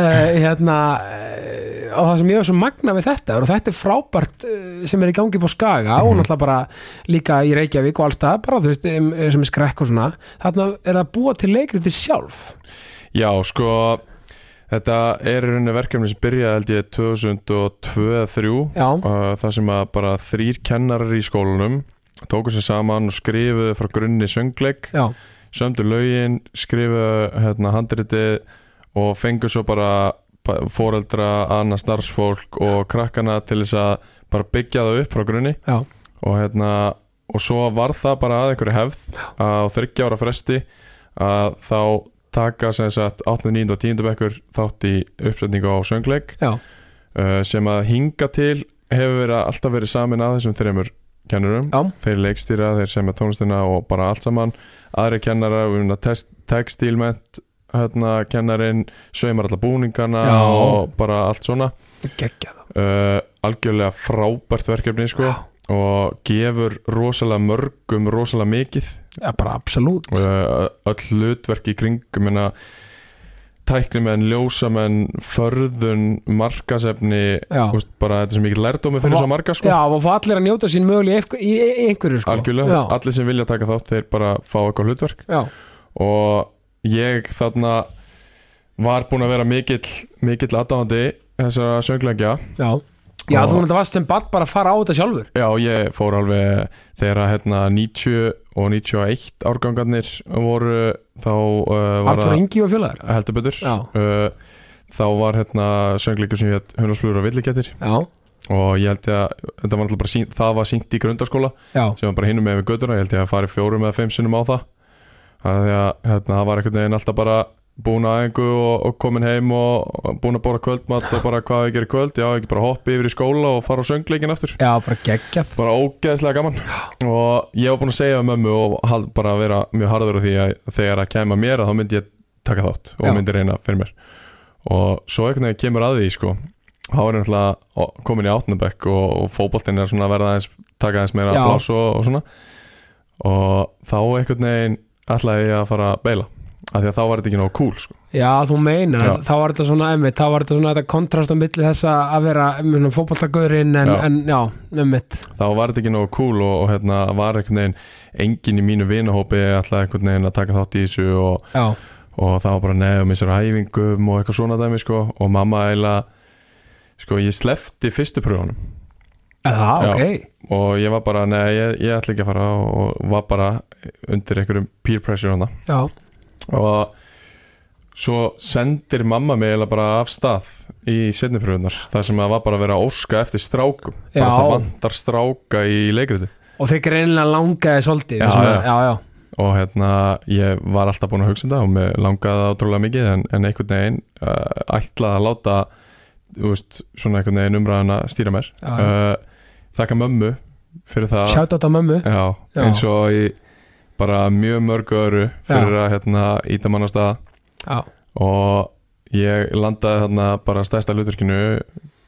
uh, hérna uh, og það sem ég var svo magna við þetta og þetta er frábært uh, sem er í gangi på Skaga og Mhm. náttúrulega bara líka í Reykjavík og alltaf, bara þú veist um, sem er skrekk og svona, þarna er að búa til leikriti sjálf Já, sko Þetta er í rauninni verkefni sem byrjaði held ég 2002-2003 já, uh, þar sem að bara þrýr kennarar í skólanum tóku sér saman og skrifuðu frá grunni söngleik já, sömdu lögin, skrifuðu hérna, handritið og fengu svo bara pa- foreldra, annað starfsfólk og krakkana til þess að bara byggja það upp frá grunni já, og hérna og svo var það bara að einhverju hefð að á 30 ára fresti að þá taka sem sagt 8. 9. og 10. bekkur þátt í uppsetningu á söngleik já uh, sem að hinga til hefur verið alltaf verið samin að þessum þreymur kennurum, Já. þeir leikstýra þeir sem er tónlistina og bara allt saman aðri kennara, við erum að textílment hérna kennarin sveimar alla búningana Já. og bara allt svona geggja það uh, algjörlega frábært verkefni sko já, og gefur rosalega mörgum rosalega mikið ja, bara absolutt uh, öll hlutverk í kringum en að tæknimenn, ljósamenn, förðun markasefni já. úst, bara þetta er svo mikið lærdómi fyrir Og- svo marga sko. já, og fá allir að njóta sín mögulega í einhver- í, í einhverju sko. algjörlega, já. allir sem vilja taka þátt þeir bara fá eitthvað hlutverk já, og ég þarna var búinn að vera mikill mikill aðdáðandi þessara sönglækja já, já Og- þú náttúrulega varst sem barn bara að fara á þetta sjálfur Já, ég fór alveg þegar að hérna 90 og 91 árgangarnir voru þá uh, var Artur Ingi og fjölaður heldur betur já, uh, þá var hérna söngleikur sem hétt Hundarsflugur og villikettir já, og ég held ég að þetta var náttúrulega bara sínt, það var sínt í grundaskóla já, sem var bara hinum með við göttuna, ég held ég að fari fjórum eða fimm sinnum á það þannig að hérna, það var einhvern veginn alltaf bara búin að engu og, og komin heim og og búin að bóra kvöldmatt og bara hvað á ég gerir kvöld, já ekki bara hoppa yfir í skóla og fara á söngleikin aftur já, bara geggjað bara ógeðslega gaman og ég var búin að segja við mömmu og hal- bara að vera mjög harður á því að þegar að kæma mér að þá myndi ég taka þátt og Já. myndi reyna fyrir mér og svo einhvern veginn kemur að því sko þá er náttúrulega ó- komin í átnabekk og, og fótboltinn er svona að verða aðeins taka aðeins meira Já. pláss og, og svona og þá einhvern veginn ætlaði ég að fara að beila af því að þá var þetta ekki nógu cool sko. já, þú meinar, Já. þá var þetta svona einmitt, þá var þetta svona þetta kontrast á milli þess að vera um, fótballtagurinn en, Já. en já, einmitt þá var þetta ekki nógu cool og, og hérna var einhvern veginn engin í mínu vinahópi ætlaði einhvern veginn að taka þátt í þessu og já, og það var bara nefnum þessar hæfingum og eitthvað svona dæmi sko og mamma eiginlega sko ég slefti fyrstu pröfunum eða, Já. ok og ég var bara nei ég, ég ætla ekki að fara og var bara undir einhverjum peer pressure hana já, og svo sendir mamma mig eiginlega bara af stað í setni pröfunar þar sem það var bara að vera að óska eftir strákum bara Já. það vantar stráka í leikriti og þeir greinilega langaði svolítið Já, þessum já. að- já, já, og hérna ég var alltaf búin að hugsa þetta og mér langaði það ótrúlega mikið en, en einhvern veginn uh, ætlaði að láta þú veist, svona einhvern veginn umræðuna stýra mér Já, uh, þakka mömmu fyrir það sjátt á mömmu já, Já. eins og í bara mjög mörgu öru fyrir að hérna íta mann á staða já, og ég landaði þarna bara stærsta hlutverkinu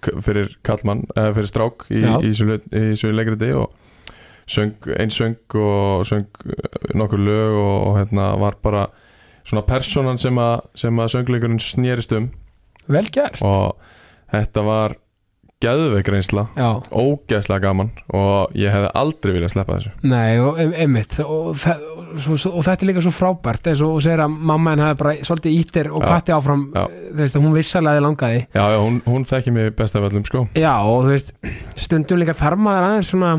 k- fyrir kallmann, eða fyrir strák í, Já. í, þessu hlut- í þessu leikriti og söng, eins söng og söng eh, nokkur lög og, og hérna var bara svona personan sem að, sem að söngleikurinn snýrist um vel gert og þetta var geðveik reynsla já, ógeðslega gaman og ég hefði aldrei viljað sleppa þessu Nei, og em- einmitt og, þe- og, svo- svo- og þetta er líka svo frábært eins og hún segir að mamma henn hafi bara svolítið ítir og Já. kvatti áfram Já. þú veist að hún vissalega þið langaði Já, já hún, hún þekki mig best af öllum sko Já, og þú veist, stundum líka þarmaður aðeins svona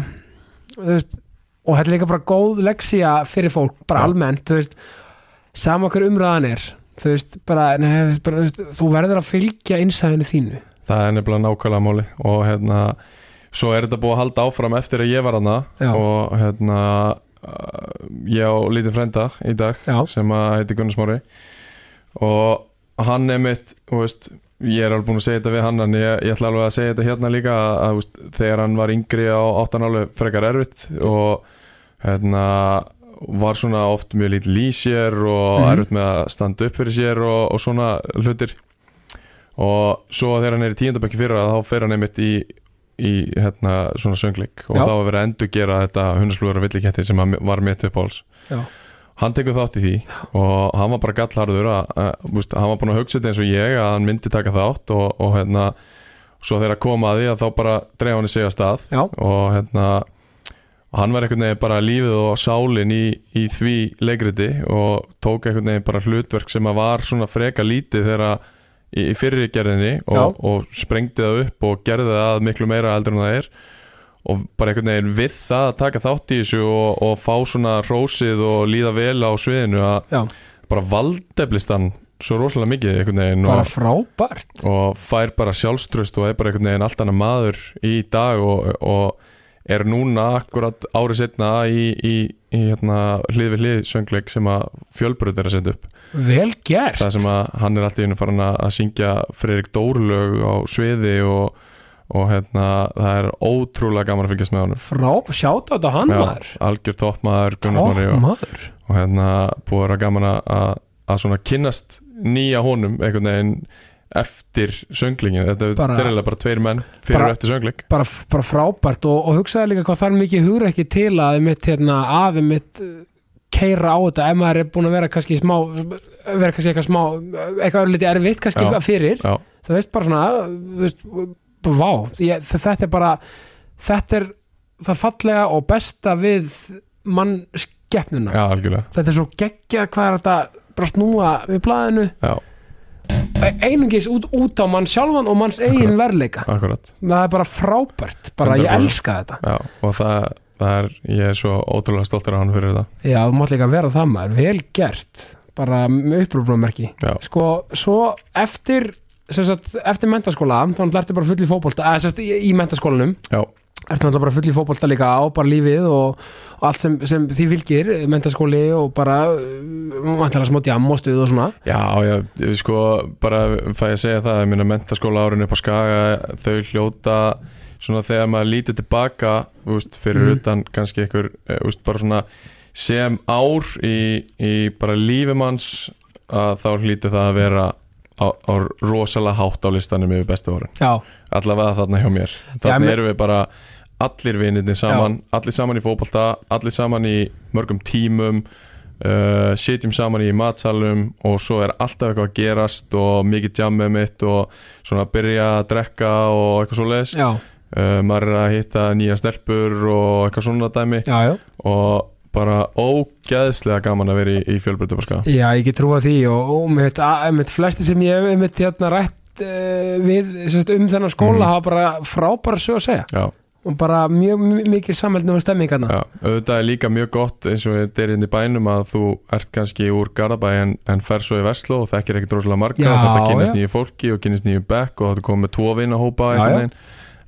þú veist, og þetta er líka bara góð leksía fyrir fólk, bara Já. almennt þú veist, sama hver umræðan er þú veist, bara, nei, þú veist, bara þú, veist, þú verður að fylgja innsæðinu þínu Það er nefnilega nákvæmlega máli og hérna, svo er þetta búið að halda áfram eftir að ég var hana Já. og hérna uh, ég á lítið frenda í dag Já, sem að heiti Gunnar Smári og hann er mitt veist, ég er alveg búin að segja þetta við hann en ég, ég ætla alveg að segja þetta hérna líka að, að þú veist, þegar hann var yngri á 8. alveg frekar erfitt og hérna var svona oft mjög lítið í sér og Mhm. erfitt með að standa upp fyrir sér og, og svona hlutir og svo þegar hann er í tíundabökki fyrra þá fer hann einmitt í, í hérna, svona söngleik og Já. þá er verið að endurgera þetta hundaslugur og villiketti sem að var mitt uppáhalds já, hann tekur þátt í því og hann var bara gallharður að, að, veist, hann var búin að hugsa þetta eins og ég að hann myndi taka þátt og, og hérna svo þegar að koma að því að þá bara dreif hann í sig að stað já, og hérna hann var einhvern veginn bara lífið og sálin í, í því leikriti og tók einhvern veginn bara hlutverk sem að var svona freka lítið þegar að í, í fyrri gerðinni og, og sprengdi það upp og gerði það að miklu meira eldur en það er og bara einhvern veginn við það að taka þátt í þessu og, og fá svona rósið og líða vel á sviðinu að já bara valdeflist hann svo rosalega mikið einhvern veginn bara og, frábært og fær bara sjálfströst og er bara einhvern veginn allt annar maður í dag og, og er núna akkurat árið setna í, í, í hérna, hlið við hlið söngleik sem að fjölbröð er að setja upp vel gert, það sem að hann er alltaf einu farin að að syngja Freirik Dórlög á sviði og, og hérna, það er ótrúlega gaman að fylgjast með honum frábært, sjátt á þetta hann Já, maður algjör toppmaður Gunnar Smári Topp og, maður og hérna búið að vera gaman að- að að svona kynnast nýja honum einhvern veginn eftir sönglingin þetta er Bara- derilega bara tveir menn fyrir Bara- og eftir söngling bara, bara frábært og, og hugsaði líka hvað þarf mikið hugur ekki til að mitt, hérna, afi mitt keira á þetta ef maður er búin að vera kannski smá vera kannski eitthvað smá eitthvað örlítið erfitt kannski Já. fyrir Já, þú veist bara svona þú veist, vá, ég, þetta er bara þetta er það fallega og besta við mannskeppnuna já algjörlega þetta er svo geggjað hvað er þetta bara snúa við blaðinu E, Já, einungis út, út á mann sjálfan og manns eigin verleika akkurat það er bara frábært, bara ég 100%. elska þetta já, og það, það er, ég er svo ótrúlega stoltur af hann fyrir það Já, þú mátt líka vera það maður, vel gert bara með upprúfnumerki Já. Sko, svo eftir sem sagt, eftir mentaskóla þá náttúrulega ertu bara full í fótbolta eða, sem sagt, í, í mentaskólanum Já. ertu náttúrulega bara full í fótbolta líka á bara lífið og, og allt sem, sem því fylgir mentaskóli og bara manntalega smá djam og stuð og svona Já, já, ég- sko, bara fæ ég að segja það, ég minna mentaskóla árin upp á skaga, þau hljóta svona þegar maður lítur tilbaka úst, fyrir Mhm. utan kannski einhver eh, úst, bara svona sem ár í, í bara lífimanns að þá hlýtur það að vera á, á rosalega hátt á listanum yfir bestu árin, já, allavega þarna hjá mér Já, þarna men- erum við bara allir vinirni saman, allir saman í fótbolta allir saman í mörgum tímum uh, sitjum saman í matsalum og svo er alltaf eitthvað að gerast og mikið jammið mitt og svona að byrja að drekka og eitthvað svoleiðis uh, já, maður er að hitta nýja stelpur og eitthvað svona dæmi já, já og bara ógeðslega gaman að vera í, í fjölbreytum að skaga Já, ég get trúa því og, og mitt, mitt flesti sem ég hef mitt, hérna, rætt uh, við sérst, um þennan skóla Mhm. hafa bara frábæra sög að segja Já, og bara mjög mi- mikil samhældnum og stemmingarna já, auðvitað er líka mjög gott eins og þetta er inn í bænum að þú ert kannski úr Garðabæ en, en fer svo í Vestló og þekkir ekkert rosalega marga Já, og þetta kynast já. nýju fólki og kynast nýju bekk og þetta komið með tvo vinahópa Já, einhvern já. veginn.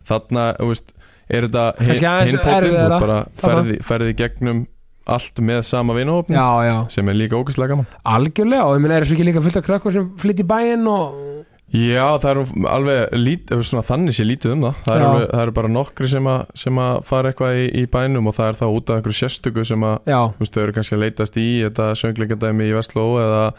þarna, þú veist, er þetta Kannski aðeins hinpótinn, þú erfiðara bara þarna. ferði, ferði í gegnum allt með sama vinahópni já, já. sem er líka ógeðslega gaman algjörlega og ég meina er þessu ekki líka fullt af krakkur sem flytt í bæinn og Já, það eru alveg lít, eh, svona, þannig sé lítið um það það eru, Já. alveg, það eru bara nokkri sem að, sem að fara eitthvað í, í bænum og það er þá út af einhverju sérstöku sem að já, þú veist, þau eru kannski að leitast í þetta söngleikadæmi í Vestló eða,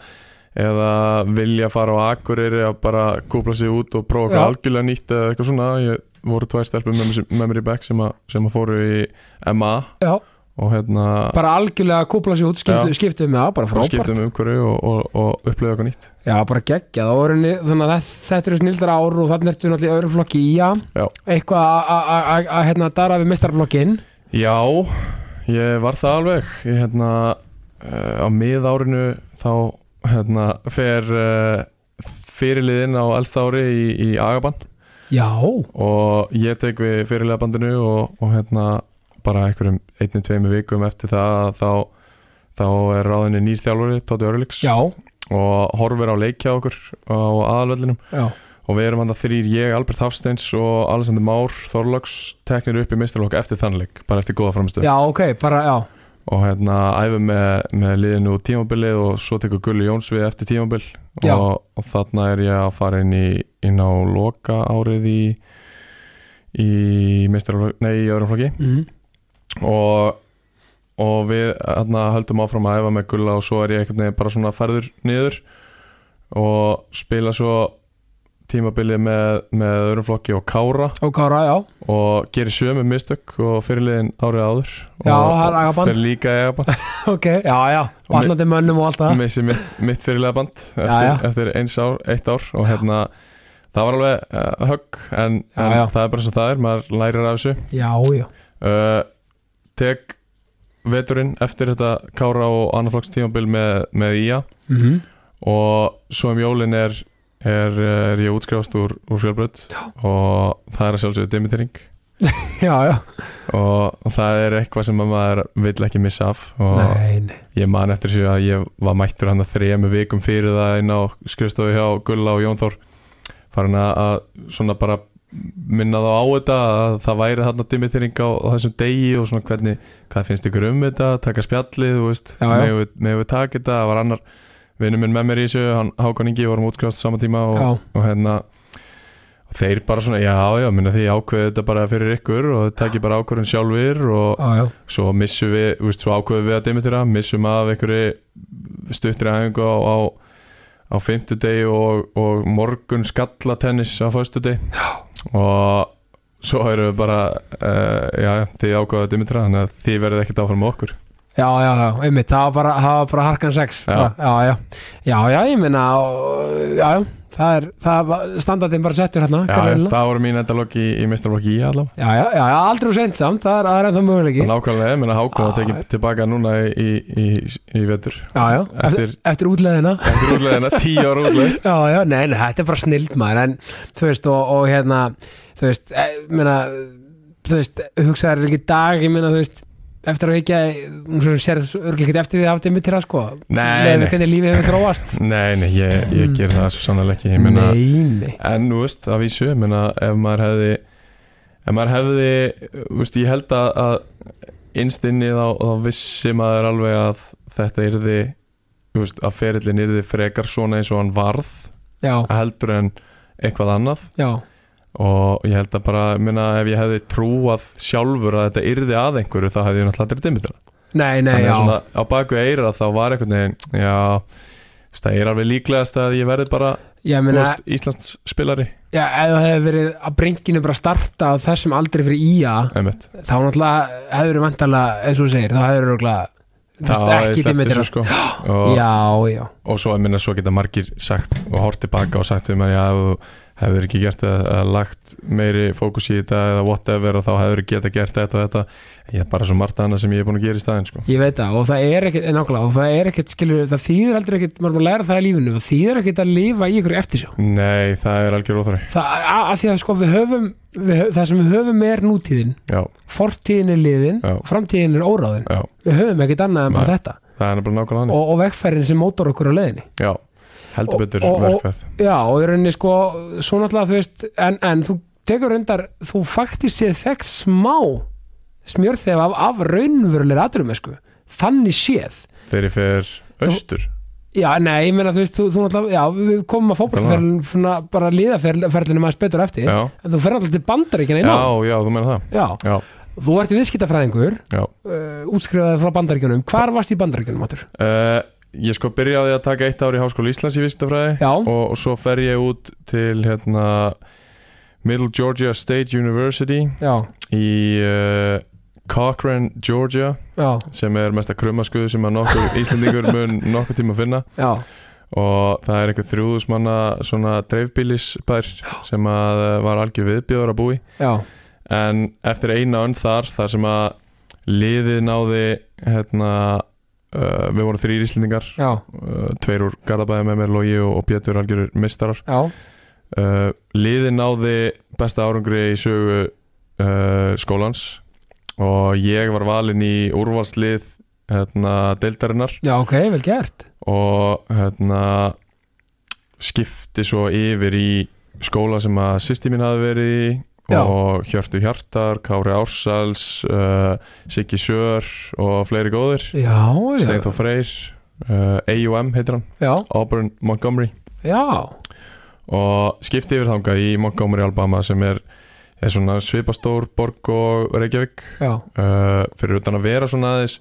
eða vilja fara á Akureyri að bara kúpla sig út og prófa eitthvað Já. algjörlega nýtt eða eitthvað svona ég voru tvær stelpur með, mér sem- með mér í Beck sem, að- sem að fóru í MA já, og hérna bara algjörlega kúpla sér út, skiptu, Já. skiptu með það bara bara frábært, skiptum umhverju um og, og, og upplöðu eitthvað nýtt já, bara geggjað og rauninni, þannig að þetta, þetta eru snildar ár og þannig ertu náttúrulega í öðrum flokki í já Já. eitthvað að- að- að- að að, hérna, dara við mistarflokkin Já, ég var það alveg ég hérna uh, á mið árinu þá hérna fer uh, fyrirliðin á elsta ári í, í Agabann já, og ég tek við fyrirlegabandinu og, og hérna bara einhverjum einni, tveimu vikum eftir það þá, þá er ráðinni nýr þjálfari Tóti Örlíks já, og horfir á leikja okkur á aðalvellinum já og við erum hann þrýr ég, Albert Hafsteins og Alexander Már Þorlags teknir upp í mistarlokk eftir þannleik, bara eftir góða framstöð Já, ok, bara, já, og hérna æfum með, með liðinu út tímabilið og svo tekur Gulli Jóns við eftir tímabil Já. og, og þarna er ég að fara inn, í, inn á loka árið í í meistaraflokki, nei í öðrum flokki mm og, og við hérna, höldum áfram að æfa með Gulla og svo er ég einhvern veginn bara svona færður niður og spila svo tímabilið með, með öðrum flokki og Kára og Kára, já, og gerir sömu mistök og fyrirliðin árið áður Já, og, það er Agabann. fer líka í Agabann ok, já, já, batnandi mönnum og allt það, missi mitt, mitt fyrirlega band eftir, Já, já. eftir eins ár, eitt ár og hérna það var alveg uh, högg en, Já, en já. það er bara svo það er, maður lærir af þessu já, já, uh, tek veturinn eftir þetta Kára og annarflokks tímabil með, með IA mm og svo um jólin er, er, er ég útskrifast úr, úr fjölbröð og það er að sjálfsögðu dimittering já, já, og, og það er eitthvað sem að maður vill ekki missa af og nei, nei, Ég man eftir því að ég var mættur hann að þrejum vikum fyrir það inn á skrifstofu hjá Gulla og Jónþór farin að, að svona bara minna þá á þetta að það væri þarna dimittering á, á þessum degi og svona hvernig, hvað finnst ykkur um þetta taka spjallið, þú veist Já, já. megum við, megum við taka þetta, það var annar vinnum minn með mér í þessu, hann Hákon Ingi vorum útskrifast á sama tíma og, já, og hérna og þeir bara svona, já, já, minna því ákveðu þetta bara fyrir ykkur og þið takir bara ákvörðun sjálfur og, já, já, svo missum við, þú veist, svo ákveðum við að dimitra missum af einhverju stuttri æfingu á, á, á fimmtudegi og, og morgun skallatennis á föstudegi og svo erum við bara uh, já, já, þið ákveðu að dimitra þannig að þið verðið ekkert áfram með okkur já, já, já, einmitt, það var bara, það var bara harkan sex, Já. bara, já, já, já, já, ég meina, og- já, já, það er, það var, standardin bara settur hérna, já, já, það voru mín endalokk í, í meistarlokk í allavega já, já, já, já, aldrei úr seint samt, það er, það er ennþá möguleiki, nákvæmlega, menn að hákvæða Já, tekið tilbaka núna í, í, í, í vetur já, já, eftir, eftir, eftir útleðina, eftir úrleðina, tíu ára úrleð Já, já, nei, nei, þetta er bara snild maður en þú veist og, og hérna þú veist, e, meina þú veist, hugsaður ekki í dag, ég meina þú veist eftir að hekja þú sér örglega ekki eftir því að hafa dimmi til það sko Nei, með nei, hvernig lífið hefur þróast nei, nei ég, ég ger það svo sannlega ekki ég meina, Nei, nei en þú veist, að vísu ég meina, ef maður hefði ef maður hefði, þú veist, ég held að, að innstinni þá, þá vissi maður alveg að þetta yrði, þú veist, að ferillin yrði frekar svona eins og hann varð Já, heldur en eitthvað annað já, og ég held að bara, ég meina, ef ég hefði trúað sjálfur að þetta yrði að einhverju þá hefði ég náttúrulega aldrei dimmit nei, nei, þannig já að svona á baku eira þá var einhvern veginn já, þú veist, það er alveg líklegast að ég verði bara Ég þú meina, veist, Íslands spilari já, ef þú hefði verið að brinkinu bara starta á þessum aldrei fyrir ía einmitt. þá náttúrulega hefur verið vantarlega, eins og þú segir, þá hefur það verið ekki dimmi til þessu það sko og, Já, já, og svo, ég meina, svo geta margir sagt og hort tilbaka og sagt við mér já, ef þú hefur ekki gert það, eða lagt meiri fókus í þetta eða whatever og þá hefur ekki geta gert þetta og þetta ég er bara svo margt annað sem ég er búin að gera í staðin sko. ég veit það og það er ekkert, nákvæmlega, og það er ekkert skilur, það þýðir aldrei ekkert, maður er búin að læra það í lífinu það þýðir ekkert að lifa í ykkur eftirsjá nei, það er algjör óþröy það, að, að því að sko við höfum við, höf- það sem við höfum er nútíðin já, fortíðin er liðin, Já. framtíðin er óráðin já, við höfum ekkert annað en bara þetta það er bara nákvæmlega hann og, og vegfærin sem mótar okkur á leiðinni já, heldur Og- betur og- og- verkfæð já og í rauninni sko svo náttúrulega þú veist en, en þú tekur reyndar, þú faktist séð fekk smá smjörþef af, af raunverulegir atrumesku þannig séð þegar ég fer austur Já, nei, ég meina þú veist, þú, þú náttúrulega, já, við komum að fókbaltferðin, bara liðaferðinu maður betur eftir, já, en þú ferð alltaf til bandaríkina í nóg. já, já, þú meina það Já, Já, þú ert viðskiptafræðingur, já. uh, útskrifaði frá bandaríkjunum, hvar varst í bandaríkjunum, Matur? Uh, ég sko byrjaði að taka eitt ár í Háskóla Íslands í viðskiptafræði Já, og, og svo fer ég út til hérna, Middle Georgia State University já, í uh, Cochrane, Georgia já, sem er mesta krummaskuðu sem að nokkur Íslandingur mun nokkur tíma finna já, og það er einhver þrjúðusmanna svona dreifbílisbær sem að eh, var algjör viðbjóður að búi já, en eftir eina önn þar þar sem að liðið náði hérna, uh, við vorum þrýr Íslendingar já, uh, tveir úr Garðabæði með mér, Logi og, og Pétur algjörur mistarar já, uh, liðið náði besta árangri í sögu uh, skólans og ég var valinn í úrvalslið hérna, deildarinnar já, ok, vel gert, og hérna, skipti svo yfir í skóla sem að sýsti mín hafi verið í Já. og Hjörtu Hjartar, Kári Ársals uh, Siggi Sör og fleiri góðir já, já, Steinþór Freyr, uh, AUM heitir hann já, Auburn Montgomery já, og skipti yfir þangað í Montgomery, Alabama sem er, er svona svipastór borg og Reykjavík já, uh, fyrir utan að vera svona aðeins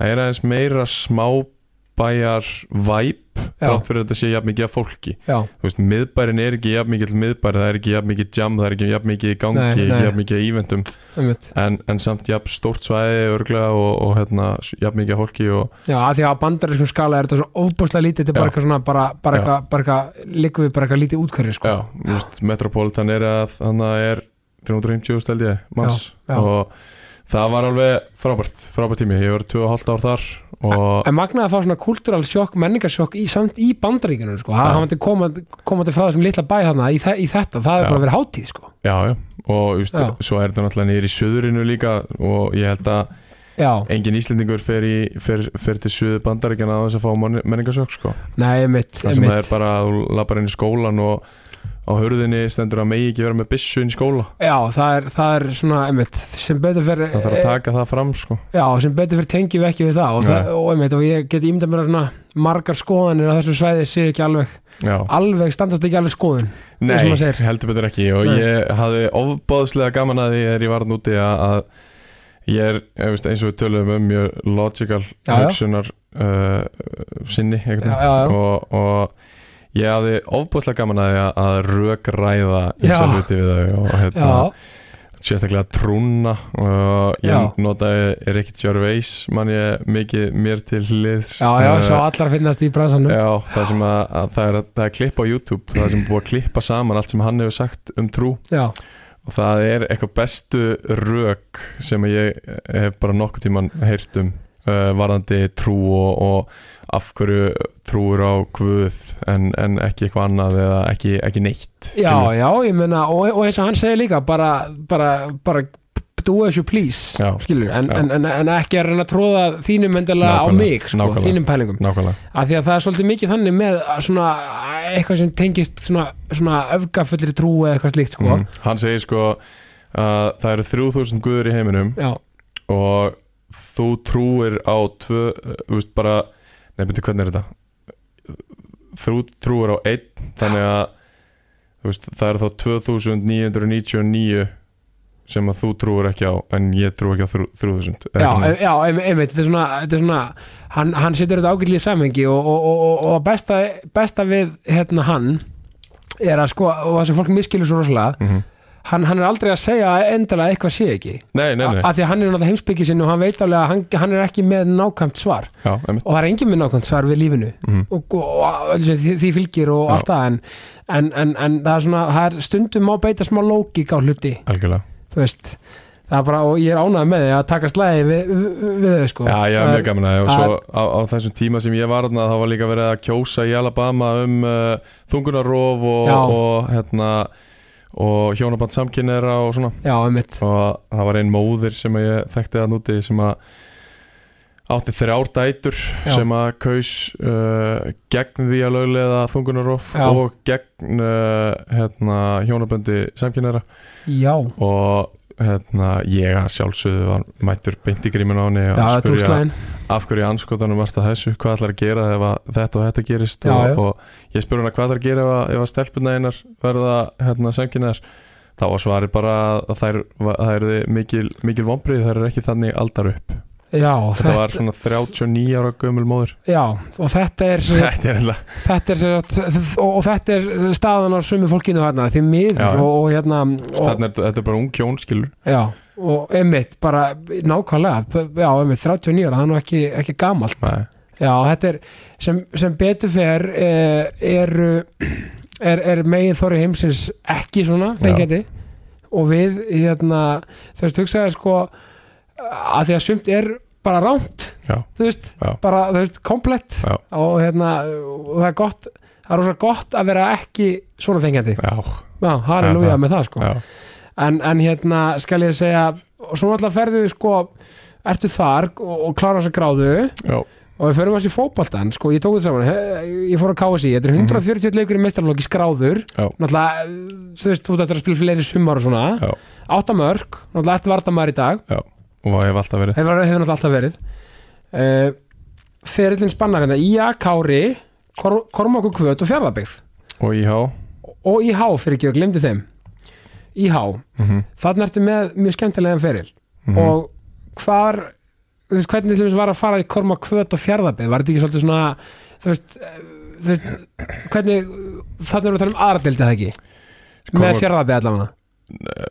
það er aðeins meira smábæjar væp Já. þrátt fyrir að þetta sé jafn mikið af fólki já, Þú veist, miðbærin er ekki jafn mikið miðbæri, það er ekki jafn mikið jam, það er ekki jafn mikið í gangi, Nei, nei. ekki jafn mikið í íventum einmitt, en, en samt jafn stórt svæði örglega og, og hérna, jafn mikið af fólki og já, að því að á bandarískum skala er þetta svo ofbúslega lítið, þetta er bara Já. eitthvað svona, bara, bara Já. eitthvað, bara eitthvað, liggum við bara eitthvað lítið útkverfi, sko, já, þú veist, Metropolitan er að þannig að er 350 steld ég, manns Já, já. og það var alveg frábært, frábært tími ég var 2,5 ár þar og En magnaði að fá svona kultúral sjokk, menningarsjokk í, samt í bandaríkjunum sko, Já. hann hann komandi komandi frá þessum litla bæ þarna í, þe í þetta, það Já. er bara verið hátíð sko já, já, og just, Já. svo er þetta náttúrulega niður í söðurinu líka og ég held að Já, engin Íslendingur fer, í, fer, fer til söðu bandaríkjana á þess að fá menningasjók sko nei, mitt, það sem það er mitt bara að þú lappar inn í skólan og á hörðinni stendur að megi ekki vera með byssu inn í skóla Já, það er, það er svona, mitt sem betur fyrir, það þarf að taka það fram sko já, sem betur fyrir tengjum við ekki við það og, það, Nei. og, mitt, og ég get ímyndað mér að svona margar skoðanir á þessu svæði sé ekki alveg, Já. alveg standast ekki alveg skoðun eins og Nei, maður segir. heldur betur ekki og Nei. ég hafði ofbáðslega gaman að því er ég varð núti að, að ég er ég veist, eins og við tölum um mjög logical Já, já. hugsunar uh, sinni já, Já, já, já. Og, og ég hafði ofbáðslega gaman að því að, að rökræða Já. ymsa hluti við þau og hérna, Já, sérstaklega trúna og ég Já. notaði Ricky Gervais man ég mikið mér til liðs já, já, Eh, svo allar finnast í bransanum Já, já, það sem að, að það er, það er klipp á YouTube það sem er búið að klippa saman allt sem hann hefur sagt um trú já, og það er eitthvað bestu rök sem ég hef bara nokkuð tíman heyrt um uh, varðandi trú og, og af hverju trúur á guð en, en ekki eitthvað annað eða ekki, ekki neitt já, skilurðu. ég meina og, og eins og hann segir líka, bara, bara, bara út úr þessu please Já. skilur, en, Já. en, en, en ekki að reyna að tróða þínum endilega á Nákvæmlega. mig sko, Nákvæmlega. þínum pælingum nákvæmlega af því að það er svolítið mikið þannig með að svona að eitthvað sem tengist svona, svona öfgafullri trú eða eitthvað slíkt sko. mm. Hann segir sko að það eru 3000 guður í heiminum já, og þú trúir á tvö, uh, þú veist bara nei, betur hvernig er þetta þú trúir á einn þannig að þú veist, það eru þá 2999 sem að þú trúir ekki á en ég trú ekki á þrjú- 3000 já, eða eitthvað. já em- einmitt, þetta er svona, þetta er svona hann, hann setur þetta ágætlega í samhengi og, og, og, og- og besta, besta við hérna hann er að sko, og það sem fólk miskilur svo rosalega Mhm. hann, hann er aldrei að segja að endilega eitthvað sé ekki Nei, nei, nei, af því að hann er náttúrulega heimsbyggið sinni og hann veit alveg að hann, hann er ekki með nákvæmt svar já, einmitt og það er engin með nákvæmt svar við lífinu Mhm. og, og, og öllu sem því, því fylgir og Já. allt það en, en, en, en það er svona það er stundum má beita smá lógik á hluti algjörlega þú veist það er bara og ég er ánægð með því að taka slæði við, við, við þau sko Já, já, Það er- mjög gaman að það og það- svo á, á þessum tíma sem ég var þarna þá var líka verið að kjósa í Alabama um uh, þungunarof og, Já. og hérna og hjónaband samkynneira og svona já, einmitt og það var einn móðir sem að ég þekkti að núti sem að átti þrjár dætur Já. sem að kaus uh, gegn því að löglega þungunarof Já. og gegn uh, hérna, hjónaböndi samkynæra já, og hérna, ég að sjálfsögðu var mættur beint í grímin á henni já, og það tók slæðin af hverju anskotanum varst að þessu hvað ætlar að gera ef að þetta og þetta gerist Já, og, já. og ég spurði hana hvað ætlar að gera ef að, ef að stelpuna einar verða hérna, semkynnar þá var svari bara að þær, það erði mikil, mikil vombrið þær eru ekki þannig aldar upp þetta, já, þetta, var svona 39 ára gömul móður já, og þetta er sem sagt- þetta er ennlega þetta er, sem sagt- og og þetta er staðan á sumu fólkinu þarna, því miður Já, já. og, og hérna og, þetta er, þetta er bara ung hjón skilur Já, og einmitt bara nákvæmlega, p- já, einmitt 39 ára, það er nú ekki, ekki gamalt Nei. Já, þetta er, sem, sem betur fer eh, eru er, er megin þorri heimsins ekki svona, þengjandi og við, hérna, þú veist, hugsaði sko að því að sumt er bara rámt, Já. þú veist Já. bara, þú veist, komplett Já. og hérna, og það er gott það er rosa gott að vera ekki svona þengjandi já, Já, halleluja það- með það sko já, en, en hérna skal ég segja og svo alltaf ferðu sko ertu þar og, og klára þess að gráðu já, og við förum að sé fótboltan sko, ég tók þetta saman, he- ég fór að káa þetta er 140 leikur í meistarlóki skráður Mhm. Já. náttúrulega, eh, þú veist, þú ættir að spila fleiri sumar og svona, Já. áttamörk náttúrulega ertu vartamæður í dag, og ég hef alltaf verið hefur, hefur náttúrulega alltaf verið uh, ferillin spannar hérna Ía, Kári, Kor Kormáku Kvöt og Fjarlabygg og íhá og IH fyrir ekki, ég glemdi þeim IH, mm Mhm. -hmm. þarna ertu með mjög skemmtilegan feril Mhm. og hvar þú veist, hvernig til þess var að fara í korma kvöt og fjárðabið, var þetta ekki svolítið svona þú veist, eh, þú veist hvernig, þannig erum við að tala um aðratildi það ekki, Sko, með fjárðabið allavega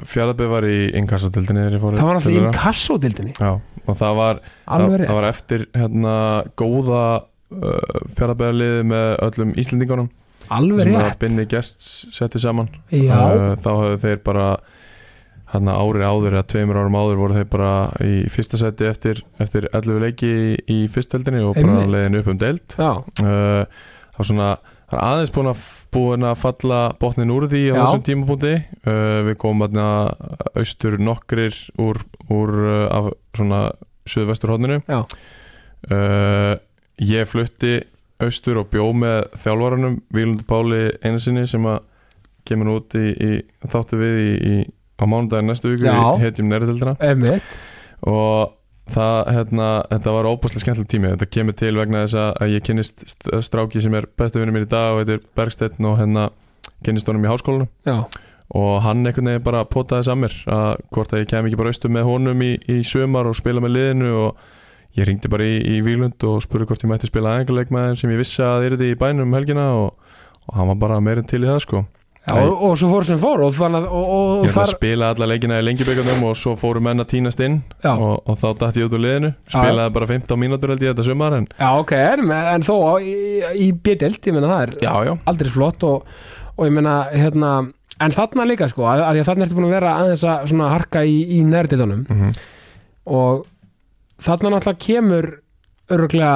fjaraðbyrð var í inkassatildinni það það var alltaf í kassódildinni Já, og það var, það, alveg það rétt, var eftir hérna, góða uh, fjaraðbæðarliði með öllum Íslendingunum alveg sem uh, að rétt Binni Guests setti saman já, þá höfðu þeir bara hérna árið áður eða tveimur árum áður voru þeir bara í fyrsta seti eftir, eftir 11 leiki í, í fyrstöldinni og bara Einmitt. leiðin upp um deild já, uh, það var svona það er aðeins búin að, búin að falla botnin úr því á Já. þessum tímapunkti uh, við komum aðna austur nokkrir úr, úr uh, af svona suðvestur hodninu Já. uh, ég flutti austur og bjó með þjálfaranum Vílund Páli Einarsinni sem að kemur nú út í, í þáttu við í, í, á mánudaginn næstu viku Já. í hetjum nærtildina einmitt og það, hérna, þetta var óbúslega skemmtileg tími þetta kemur til vegna þess að- að ég kynnist st- stráki sem er besti vinnur mér í dag og heitir Bergsteinn og hérna kynnist honum í háskólanum já, og hann einhvern veginn bara potaði samir að hvort að ég kem ekki bara austur með honum í, í sömar og spila með liðinu og ég ringdi bara í, í Vílund og spurði hvort ég mætti spila aðeinkuleik með þeim sem ég vissi að þeir eru í bænum um helgina og, og hann var bara meirinn til í það sko já og, og svo fór sem fór og þannig að, og, og, Ég og ætla að þar, spila alla leikina í lengjubikarnum og svo fóru menn að týnast inn já, og, og þá dætti ég út úr liðinu spilaði bara 15 mínútur held ég þetta sumar en já, ok en, en þó í, í B-dild, ég meina það er já, já, aldrei flott og, og ég meina hérna, en þarna líka sko að, að því að þarna ertu búin að vera aðeins að svona harka í, í nærtildunum mm -hmm. og þarna náttúrulega kemur öruglega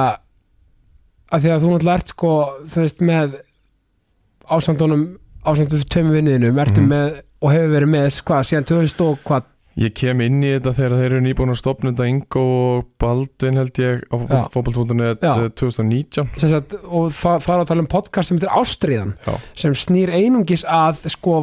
að því að þú náttúrulega ert sko þú veist með ásandunum ásandu tveimur vinniðinum ertu Mhm. með og hefur verið með hvað síðan 2000 og hvað Ég kem inn í þetta þegar þeir eru nýbúin að stopna þetta Ingo og Baldvin held ég á eh, Já. fótbolt.net Já. 2019 Sem sagt, og það, það er að tala um podcast sem heitir Ástriðan Já. sem snýr einungis að sko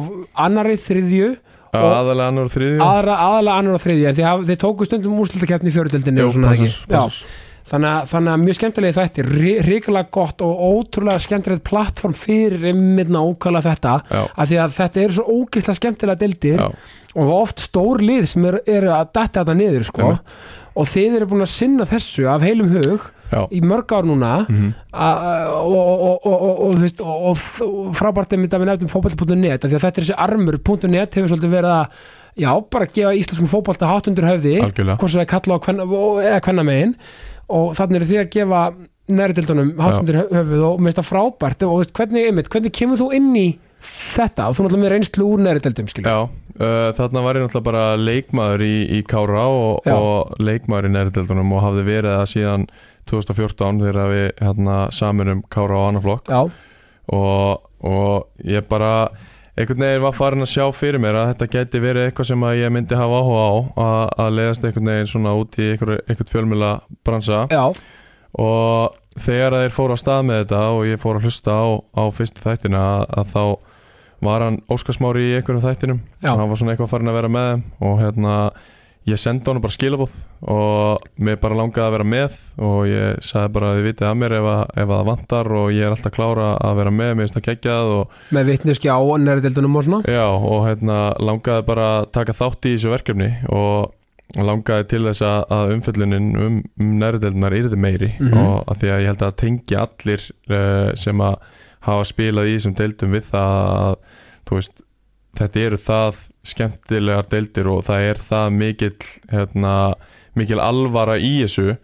annari þriðju Og- aðalega annar og þriðju aðra, aðalega annar og þriðju en þið, haf, þið tóku stundum úrslutakefni í fjörutöldinni Jú, og svona passar, ekki passar. Já, þannig, að, þannig að mjög skemmtilegi þætti ríkilega gott og ótrúlega skemmtilegt plattform fyrir einmitt nákvæmlega þetta Já. af því að þetta eru svo ógeðslega skemmtilega deildir Já, og oft stór lið sem eru er að detta þetta niður sko. einmitt. og þið eru búin að sinna þessu af heilum hug Já. í mörg ár núna a- a- og- og- og- og- og þú veist, og- og og frábært er myndað við nefndum um fótbolti.net af því að þetta er þessi armur.net hefur svolítið verið að já, bara gefa íslenskum fótbolta hátt undir höfði Algjörlega. hvort sem það er kalla á kvenna, og- eða kvenna megin og þannig eru því að gefa næriðildunum hátt Já. undir hö- höfuð og mér finnst það frábært og þú veist, hvernig, einmitt, hvernig kemur þú inn í þetta og þú náttúrulega með reynslu úr næriðildum skilja Já, uh, þarna var ég náttúrulega bara leikmaður í, í Kára og, Já. og leikmaður í næriðeldunum og hafði verið það síðan 2014 þegar við hérna, saminum Kára og Annaflokk já, og, og ég bara einhvern veginn var farin að sjá fyrir mér að þetta gæti verið eitthvað sem að ég myndi hafa áhuga á að, að leiðast einhvern veginn svona út í einhver, einhvern fjölmjöla bransa já, og þegar þeir fóru á stað með þetta og ég fór að hlusta á, á fyrstu þættina að, að þá var hann Óskarsmári í einhverjum þættinum Já. hann var svona eitthvað farin að vera með þeim og hérna ég sendi honum bara skilabóð og mér bara langaði að vera með og ég sagði bara að þið vitið að mér ef, að, ef að það vantar og ég er alltaf klára að vera með, mér finnst það geggjað og með vitneski á næriðildunum og svona Já og hérna langaði bara að taka þátt í þessu verkefni og langaði til þess að, að umföllunin um, um nærdeldunar yrði meiri Mhm. og að því að ég held að tengja allir uh, sem að hafa spilað í þessum deildum við það að þú veist þetta eru það skemmtilegar deildir og það er það mikill hérna, mikil alvara í þessu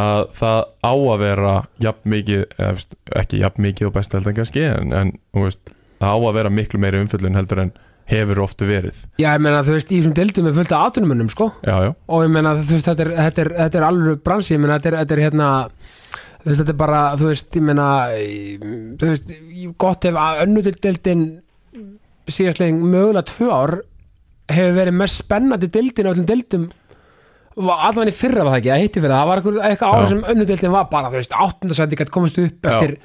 að það á að vera jafn mikið, eða, veist, ekki jafn mikið og best heldur en kannski en, en þú veist, það á að vera miklu meiri umfjöldun heldur en hefur oftu verið já, ég meina, þú veist, í þessum deildum er fullt af atvinnumönnum sko já, já, og ég meina þú veist þetta er, þetta er, þetta er alveg bransi, ég meina þetta er, þetta er hérna þú veist þetta er bara, þú veist ég meina, í- þú veist í- gott ef önnudeldeldin síðastlegin mögulega tvö ár hefur verið mest spennandi deildin á öllum deildum allan í fyrra var það ekki, það hitti fyrra það var einhver- eitthvað ára Já. sem önnudeldin var bara þú veist, áttundasændi gætt komist upp Já. eftir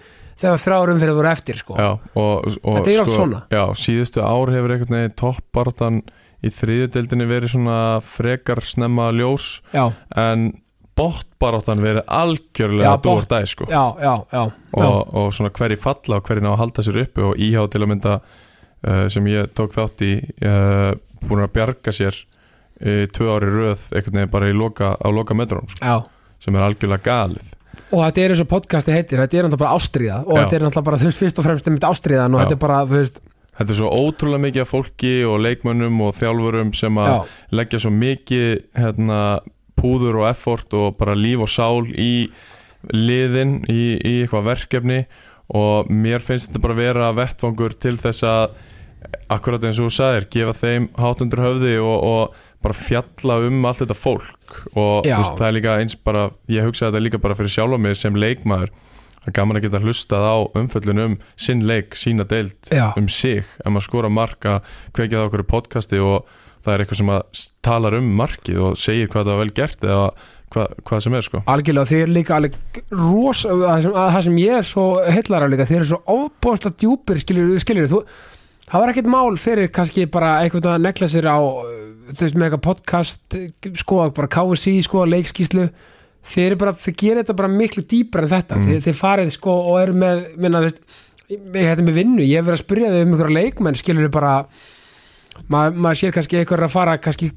þegar þrjárum fyrir voru eftir sko. já og, og, sko, Þetta er oft svona. já, síðustu ár hefur einhvern veginn toppartan í þriðudeldinni verið svona frekar snemma ljós já, en bóttbaráttan verið algjörlega Já, að dúr dæ sko já, já, já, já. og, og svona hverji falla og hverji ná að halda sér uppi og íhá til að mynda uh, sem ég tók þátt í uh, búin að bjarga sér uh, tvö ári röð einhvern veginn bara í loka, á loka metrum sko, já. sem er algjörlega galið og þetta er eins og podcasti heitir, þetta er náttúrulega bara ástriða og Já. þetta er náttúrulega bara, þú veist, fyrst og fremst einmitt ástriðan og Já. þetta er bara, þú veist, Þetta er svo ótrúlega mikið af fólki og leikmönnum og þjálfurum sem að já, leggja svo mikið hérna, púður og effort og bara líf og sál í liðin, í, í eitthvað verkefni og mér finnst þetta bara vera vettvangur til þess að akkurat eins og þú sagðir, gefa þeim hátundur höfði og, og bara fjalla um allt þetta fólk og þú Já. veist, það er líka eins bara, ég hugsaði þetta líka bara fyrir sjálf mig sem leikmaður að gaman að geta hlustað á umföllun um sinn leik, sína deild já, um sig ef maður skora mark að kveikja það okkur í podcasti og það er eitthvað sem að s- talar um markið og segir hvað það var vel gert eða hvað, hvað sem er sko algjörlega, og þeir eru líka alveg ros, að það sem, að það sem ég er svo heillar af líka, þeir eru svo ofbóðslega djúpir, skiljur, skiljur, þú það var ekkert mál fyrir kannski bara einhvern að negla sér á, uh, þú veist, með eitthvað podcast, uh, skoða bara KSI, skoða leikskíslu, sko, þeir eru bara, þeir gera þetta bara miklu dýpar en þetta, Mm. þeir, þeir farið sko og eru með, minna, þú veist, ég hætti með vinnu, ég hef verið að spyrja þau um einhverja leikmenn skilur þau bara maður maður sér kannski einhverja að fara kannski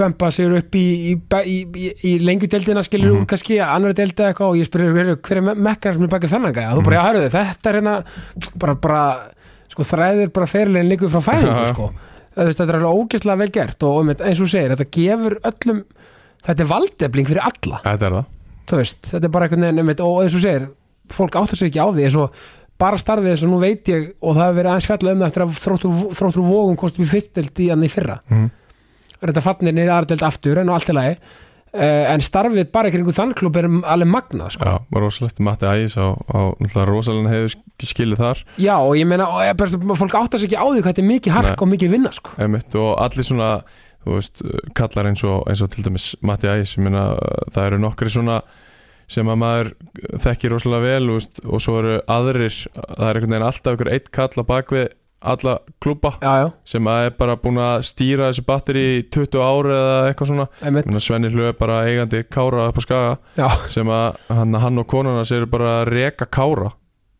bempa sig upp í, í, í, í, í lengjudeldina skilur mm Mhm. kannski annari delda eitthvað og ég spyrir hver, hver er mekkar sem er bakið þennan gæja, Mm. þú bara, já, hörðu, þetta er hérna bara, bara, sko, þræðir bara fyrirlegin líku frá Já, fæðingu, já. sko Það, þú veist, þetta er alveg ógeðslega vel gert og um, eins og þú segir, þetta gefur öllum þetta er valdefling fyrir alla Þetta er það þú veist, þetta er bara einhvern veginn einmitt, og eins og þú segir, fólk áttur sér ekki á því eins og bara starfið eins og nú veit ég og það hefur verið aðeins fjallað um það eftir að þróttur, þróttur vógum kostum við fyrstild í hann í fyrra Mhm. reynda fannir niður aðardelt aftur en og allt í lagi uh, en starfið bara í kringum þann klub er alveg magnað sko. Já, rosalegt, Matti Ægis á, á rosalinn hefur skilið þar já. eh, og ég meina, og, ég, bara, fólk áttur sér ekki á því hvað þetta er mikið hark Nei. og mikið vinna sko. einmitt, og allir svona þú veist, kallar eins og, eins og til dæmis Matti Æs, ég meina það eru nokkri svona sem að maður þekkir rosalega vel þú veist, og svo eru aðrir, það er einhvern veginn alltaf einhver eitt kall á bakvið alla klúpa já, já, sem að er bara búin að stýra þessu batteri í 20 ári eða eitthvað svona Ég einmitt meina, Svenni Hlöf er bara eigandi kára upp á skaga já, sem að hann, hann og konuna sér bara að reka kára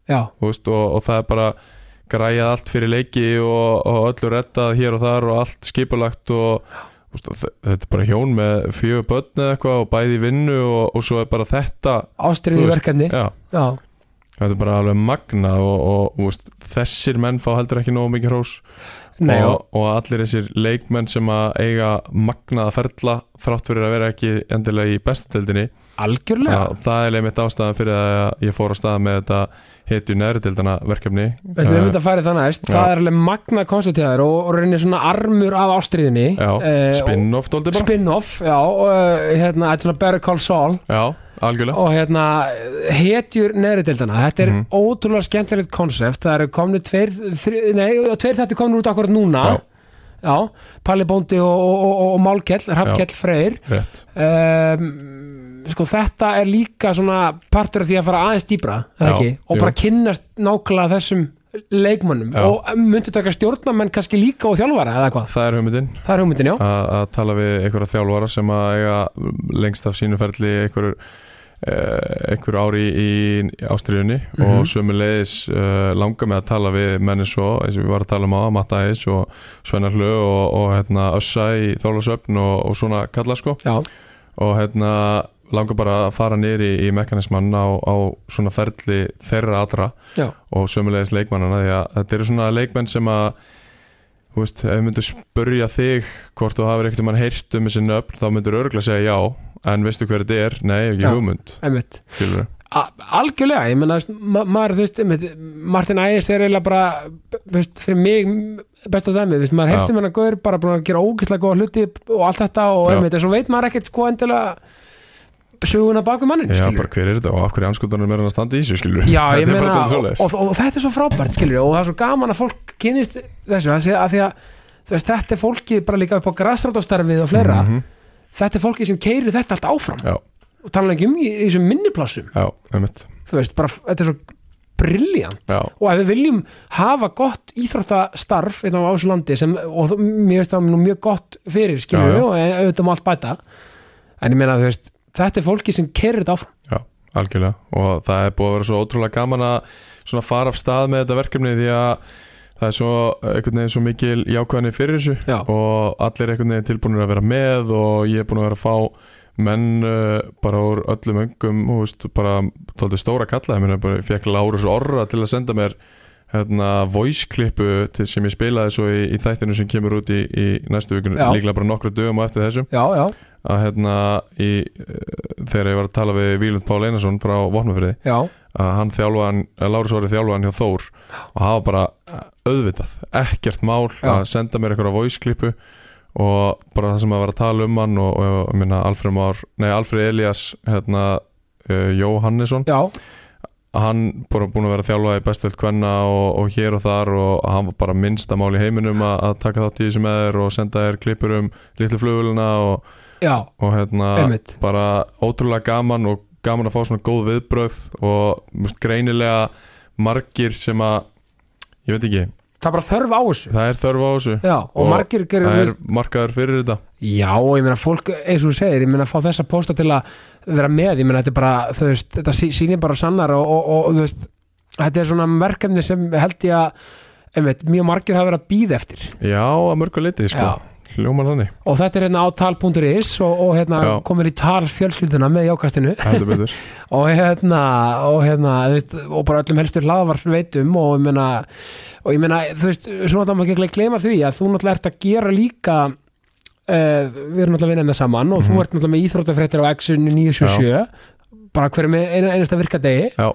já, þú veist, og, og það er bara græjað allt fyrir leiki og, og öllu rettað hér og þar og allt skipulagt og þú veist, og þe- þetta er bara hjón með fjögur börn eða eitthvað og bæði í vinnu og, og svo er bara þetta Þú ástriði veist, verkefni já, já, þetta er bara alveg magna og, og, þú veist, þessir menn fá heldur ekki nógu mikið hrós nei, já, og, og allir þessir leikmenn sem að eiga magnaða ferla þrátt fyrir að vera ekki endilega í bestudeldinni algjörlega Já, það er einmitt ástæðan fyrir að ég fór á stað með þetta heitu næriðildana verkefni uh, Við ætlum einmitt að fara í það næst, Já. það er alveg magna konstatíðar og, og reynir svona armur af ástriðinni Já, eh, og- spin-off dóldi bara spin-off, já, og eh, hérna, þetta er svona Better Call Saul Já, algjörlega og hérna, hetjur neðri deildana, þetta er Mhm. ótrúlega skemmtilegt konsept, það eru komni tveir, þri, nei, og tveir þetta komnir út akkurat núna, Já. já, Palli Bóndi og, og, og, og Málkell, Hrafkell Freyr, Rétt, um, sko þetta er líka svona partur af því að fara aðeins dýbra, eða Já, ekki, og jú. bara kynnast nákvæmlega þessum leikmönnum Já. og myndi taka stjórnamenn kannski líka og þjálfara eða hvað, það er hugmyndin það er hugmyndin, já, að- að tala við einhverja þjálfara sem að eiga lengst af sínu ferli einhverju eh, einhverju ári í, í ástriðunni og sömulegis uh, langa með að tala við menni svo, eins og við varum að tala um á Matta Eis og Svennar Hlö og, og hérna, Össa í Þólasöfn og, og svona kalla sko já, og hérna langar bara að fara nýr í, í mekanismann á, á svona ferli þeirra allra já, og sömulegis leikmannana því að þetta eru svona leikmenn sem að þú veist, ef við myndum spurja þig hvort þú hafur ekkert um hann heyrt um þessi nöfn þá myndur örgulega segja já en veistu hver þetta er? Nei, ekki Já. hugmynd einmitt. skilur A- algjörlega, ég menna ma maður, þú veist, einmitt, Martin Ægis er eiginlega bara, þú veist, fyrir mig m- besta dæmi, þú veist, maður Já. hefði með hann gaur bara búin að gera ógislega góða hluti og allt þetta og Já. einmitt, en svo veit maður ekkert sko endilega söguna baku mannin, Já, skilur bara hver er þetta og af hverju anskutunum er hann að standa í þessu skilur Já, ég Þetta er bara meina, dálítið og, svoleiðis. og, og þetta er svo frábært, skilur og það er svo gaman að fólk kynist þessu að því að, því að þú veist, þetta er fólkið bara líka upp á grassrótastarfið og fleira, Mhm. þetta er fólkið sem keirir þetta allt áfram Já. og tala ekki um í, í þessum minniplássum Já, einmitt þú veist, bara, þetta er svo briljant Já, og ef við viljum hafa gott íþróttastarf hérna á þessu landi sem, og þó- mér veist það nú mjög gott fyrir skilur Já, já. við og e- auðvitað má allt bæta en ég meina þú veist þetta er fólki sem kerir þetta áfram algjörlega og það er búið að vera svo ótrúlega gaman að svona fara af stað með þetta verkefni því að það er svo eh, einhvern veginn svo mikil jákvæðinni fyrir þessu Já. og allir einhvern veginn tilbúinir að vera með og ég er búin að vera að fá menn uh, bara úr öllum öngum þú veist, bara tóldi stóra kalla ég, meina, bara, ég fekk Lárus Orra til að senda mér hérna voice klippu til, sem ég spilaði svo í, í þættinu sem kemur út í, í næstu vikun, Já. líklega bara nokkru dögum á eftir þessu já, já, að hérna í, eh, þegar ég var að tala við Vílund Pál Einarsson frá Vopnafyrði já, að hann þjálfaðan, Lárus Orri þjálfaðan hjá Þór og hafa bara eh, auðvitað ekkert mál Já. að senda mér einhverja voice klippu og bara það sem að vera að tala um hann og, og, og minna Alfred Már, nei Alfred Elias hérna uh, Jóhannesson já, hann bara búin að vera að þjálfa í bestveld kvenna og, og hér og þar og hann var bara minnsta mál í heiminum að, að taka þátt í þessu með þér og senda þér klippur um litlu flugulina og, já og hérna einmitt, bara ótrúlega gaman og gaman að fá svona góð viðbröð og must, greinilega margir sem að ég veit ekki, það er bara þörf á þessu það er þörf á þessu já, og, Og margir gerir það er markaður fyrir þetta já, og ég meina fólk, eins og þú segir ég meina fá þessa pósta til að vera með ég meina þetta er bara, þú veist, þetta sí- sýnir bara sannar og, og, og þú veist þetta er svona verkefni sem held ég að einmitt, mjög margir hafa verið að býða eftir já, að mörgu leiti sko, hljómar þannig og þetta er hérna á tal.is og, og hérna Já. komir í tal fjölskylduna með jákastinu heldur betur og hérna, og, hérna þú veist, og bara öllum helstur hlaðvarf veitum og ég meina, og ég meina þú veist, svona það maður ekki gleyma því að þú náttúrulega ert að gera líka uh, við erum náttúrulega að vinna með saman og þú ert náttúrulega með íþróttafréttir á X-inu 977 bara hverjum ein, einasta virkadegi já,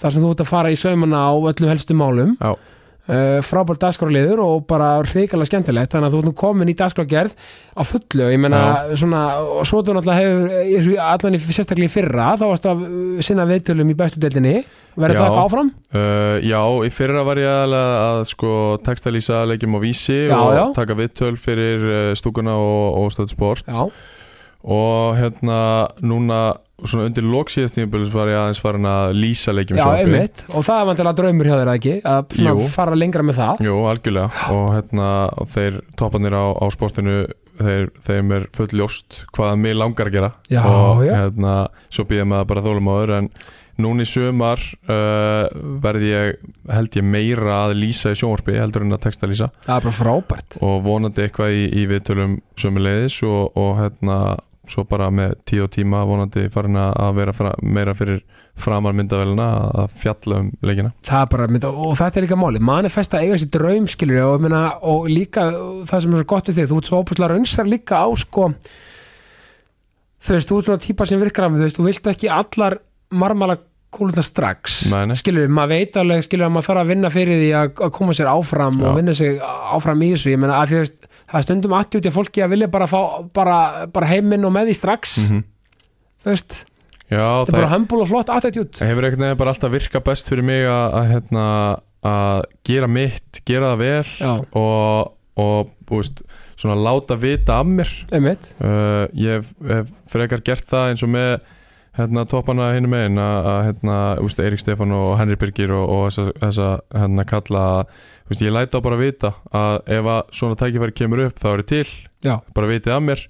þar sem þú ert að fara í saumana á öllum helstu málum Já. uh, frábært dagskráliður og bara hrikalega skemmtilegt þannig að þú ert nú komin í dagskrágerð á fullu ég meina svona og svo þú náttúrulega hefur eins og í- allan í sérstaklega í fyrra þá varst að uh, sinna viðtölum í bestu deildinni verður það Já. eitthvað áfram? Uh, já, í fyrra var ég aðalega að sko textalýsa leikjum á vísi Já, og já. taka viðtöl fyrir uh, stúkuna og, og stöðsport Já, og hérna núna svona undir loksíðast tímabilis var ég aðeins farin að lýsa leikjum já í sjónvarpi. einmitt og það er vantilega draumur hjá þér eða ekki að svona Jú. fara lengra með það Jú, algjörlega og hérna og þeir topparnir á, á sportinu þeir, þeim er full ljóst hvað mig langar að gera Já, og já. hérna svo býðum maður bara þólum áður en núna í sumar uh, verði ég held ég meira að lýsa í sjónvarpi heldur en að texta lýsa það er bara frábært og vonandi eitthvað í, í viðtölum sömuleiðis og, og hérna svo bara með tíu tíma vonandi farin að að vera fra, meira fyrir framar myndavelina að fjalla um leikina það er bara, mynd, og þetta er líka máli manifesta eiga sér draum skilur og, ég meina, og líka það sem er svo gott við þig þú ert svo óbúslega raunsar líka á sko, þú veist, þú ert svona típa sem virkar af, þú veist, þú vilt ekki allar marmala kúluna strax Nei, nei. skilur, maður veit alveg skilur að maður þarf að vinna fyrir því að, að koma sér áfram Já. og vinna sér áfram í þessu ég meina að því, þú veist, það er stundum aftur út í að fólki að vilja bara fá bara, bara heiminn og með því strax Mhm. þú veist, Já, þetta er bara humble og flott attitude Það hefur einhvern veginn bara alltaf virka best fyrir mig að, að, hérna, að gera mitt, gera það vel já, og, og þú veist, svona láta vita af mér. einmitt Uh, ég hef, hef frekar gert það eins og með hérna, toppana hinn megin að, að hérna, þú veist, Eirík Stefán og Henry Birgir og, og þessa, þessa hérna, kalla að þú veist, ég læta á bara vita að ef að svona tækifæri kemur upp þá er ég til, Já. bara vitið af mér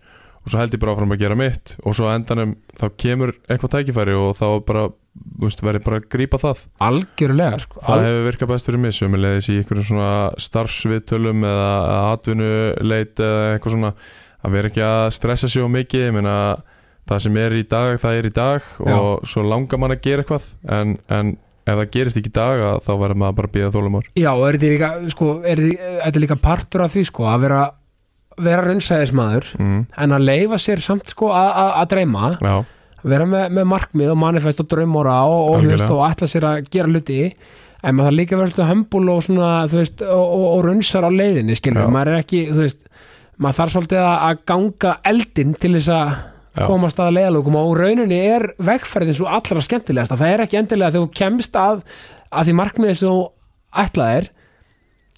og svo held ég bara áfram að gera mitt og svo á endanum þá kemur eitthvað tækifæri og þá bara, þú veist, verið bara að grípa það algjörlega sko. Það hefur virkað best fyrir mig sömulegis í einhverjum svona starfsviðtölum eða atvinnuleit eða eitthvað svona að vera ekki að stressa sér of mikið ég meina það sem er í dag það er í dag og svo langar mann að gera eitthvað en, en ef það gerist ekki í dag að þá verður maður bara að bíða þólum ár Já, og er þetta líka, sko, er, þetta er líka partur af því, sko, að vera, vera raunsæðismadur, mm. en að leifa sér samt, sko, að- að að dreyma, Já, vera með, með markmið og manifest og draumóra og, og, þú veist, Algjörlega. og ætla sér að gera hluti, en maður þarf líka að vera svolítið hömbul og svona, þú veist, og, og, og raunsar á leiðinni, skilur, Já. maður er ekki, þú veist, maður þarf svolítið að- að ganga eldinn til þess að Já. komast að leiðalókum og rauninni er vegferðin svo allra skemmtilegasta, það er ekki endilega þegar þú kemst að, að því markmiðið sem þú ætlaðir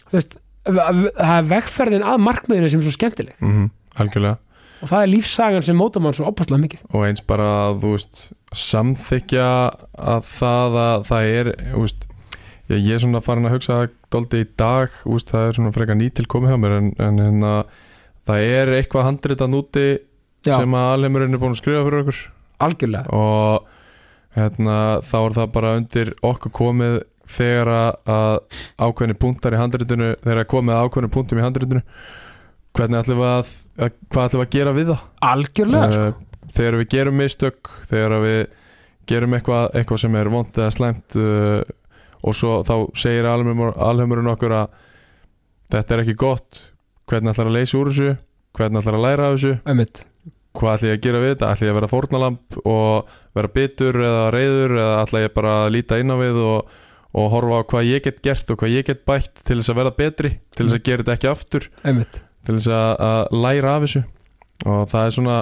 þú veist, v- v- það er vegferðin að markmiðinu sem er svo skemmtileg mm algjörlega og það er lífsagan sem móta mann svo opaslega mikið og eins bara að þú veist samþykja að það að það er þú veist, ég, ég er svona farin að hugsa doldi í dag, þú veist, það er svona frekar nýtil komið hjá mér en, en hérna það er eitthvað handritan úti Já, sem að alheimurinn er búin að skrifa fyrir okkur algjörlega og hérna þá er það bara undir okkur komið þegar að- að ákveðni punktar í handritinu þegar að komið að ákveðni punktum í handritinu hvernig ætlum við að, að hvað ætlum við að gera við það Algjörlega, sko. uh, þegar við gerum mistök þegar við gerum eitthvað, eitthvað sem er vond eða slæmt uh, og svo þá segir alheimur, alheimurinn okkur að þetta er ekki gott hvernig ætlar að leysa úr þessu hvernig ætlar að læra af þessu sko. einmitt hvað ætla ég að gera við þetta, ætla ég að vera fórnalamb og vera bitur eða reyður eða ætla ég bara að líta inn á við og, og horfa á hvað ég get gert og hvað ég get bætt til þess að verða betri til þess að gera þetta ekki aftur einmitt, til þess að, að læra af þessu og það er svona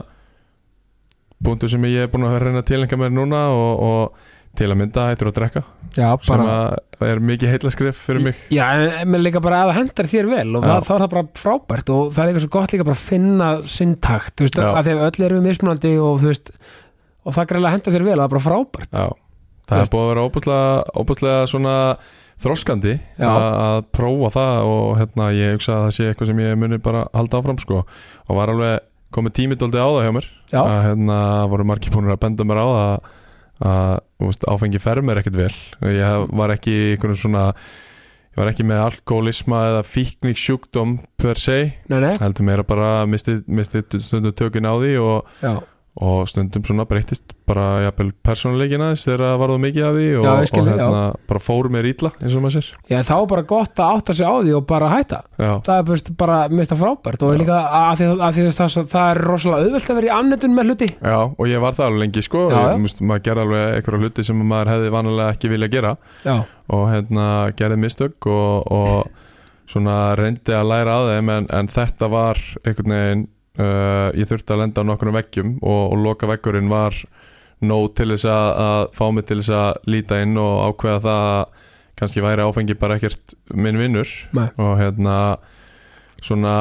punktu sem ég er búin að reyna að tilengja mér núna og, og til að mynda hættur að drekka já, sem bara að er mikið heitlaskrif fyrir mig Já, en, en menn líka bara að það hendar þér vel og Já. það, þá er það bara frábært og það er líka svo gott líka bara að finna sinn takt, þú veist, Já. að þegar öll eru mismunandi og þú veist, og það greiðlega hendar þér vel og það er bara frábært, Já, það er búin að vera óbúslega, óbúslega svona þroskandi Já. að að prófa það og hérna ég hugsa að það sé eitthvað sem ég muni bara halda áfram sko og var alveg komið tímidóldi á það hjá mér já, að hérna voru margir búinir að benda mér á það að, að þú veist, áfengi fer mér ekkert vel ég var ekki í einhverjum svona ég var ekki með alkoholisma eða fíknik sjúkdóm per se nei, nei, heldur mér að bara misti, misti stundu tökin á því og, já og stundum svona breyttist bara jafnvel persónuleikin aðeins þegar það varðu mikið af því og, Já, ég skil og þig, já. bara fór mér ítla eins og maður sér Já, þá er bara gott að átta sig á því og bara hætta já, það er bara, bara mista frábært og Já. líka að því, að því þú veist, það, er svo- það er rosalega auðvelt að vera í afnöndun með hluti já, og ég var það alveg lengi sko Já, já. Ég, must, maður gerði alveg einhverja hluti sem maður hefði vanalega ekki vilja gera Já, og hérna gerði mistök og, og svona reyndi að læra að þeim en, en þetta var einhvern veginn uh, ég þurfti að lenda á nokkrum veggjum og, og loka veggurinn var nóg til þess að, að fá mig til þess að líta inn og ákveða það að kannski væri áfengi bara ekkert minn vinnur Nei. og hérna svona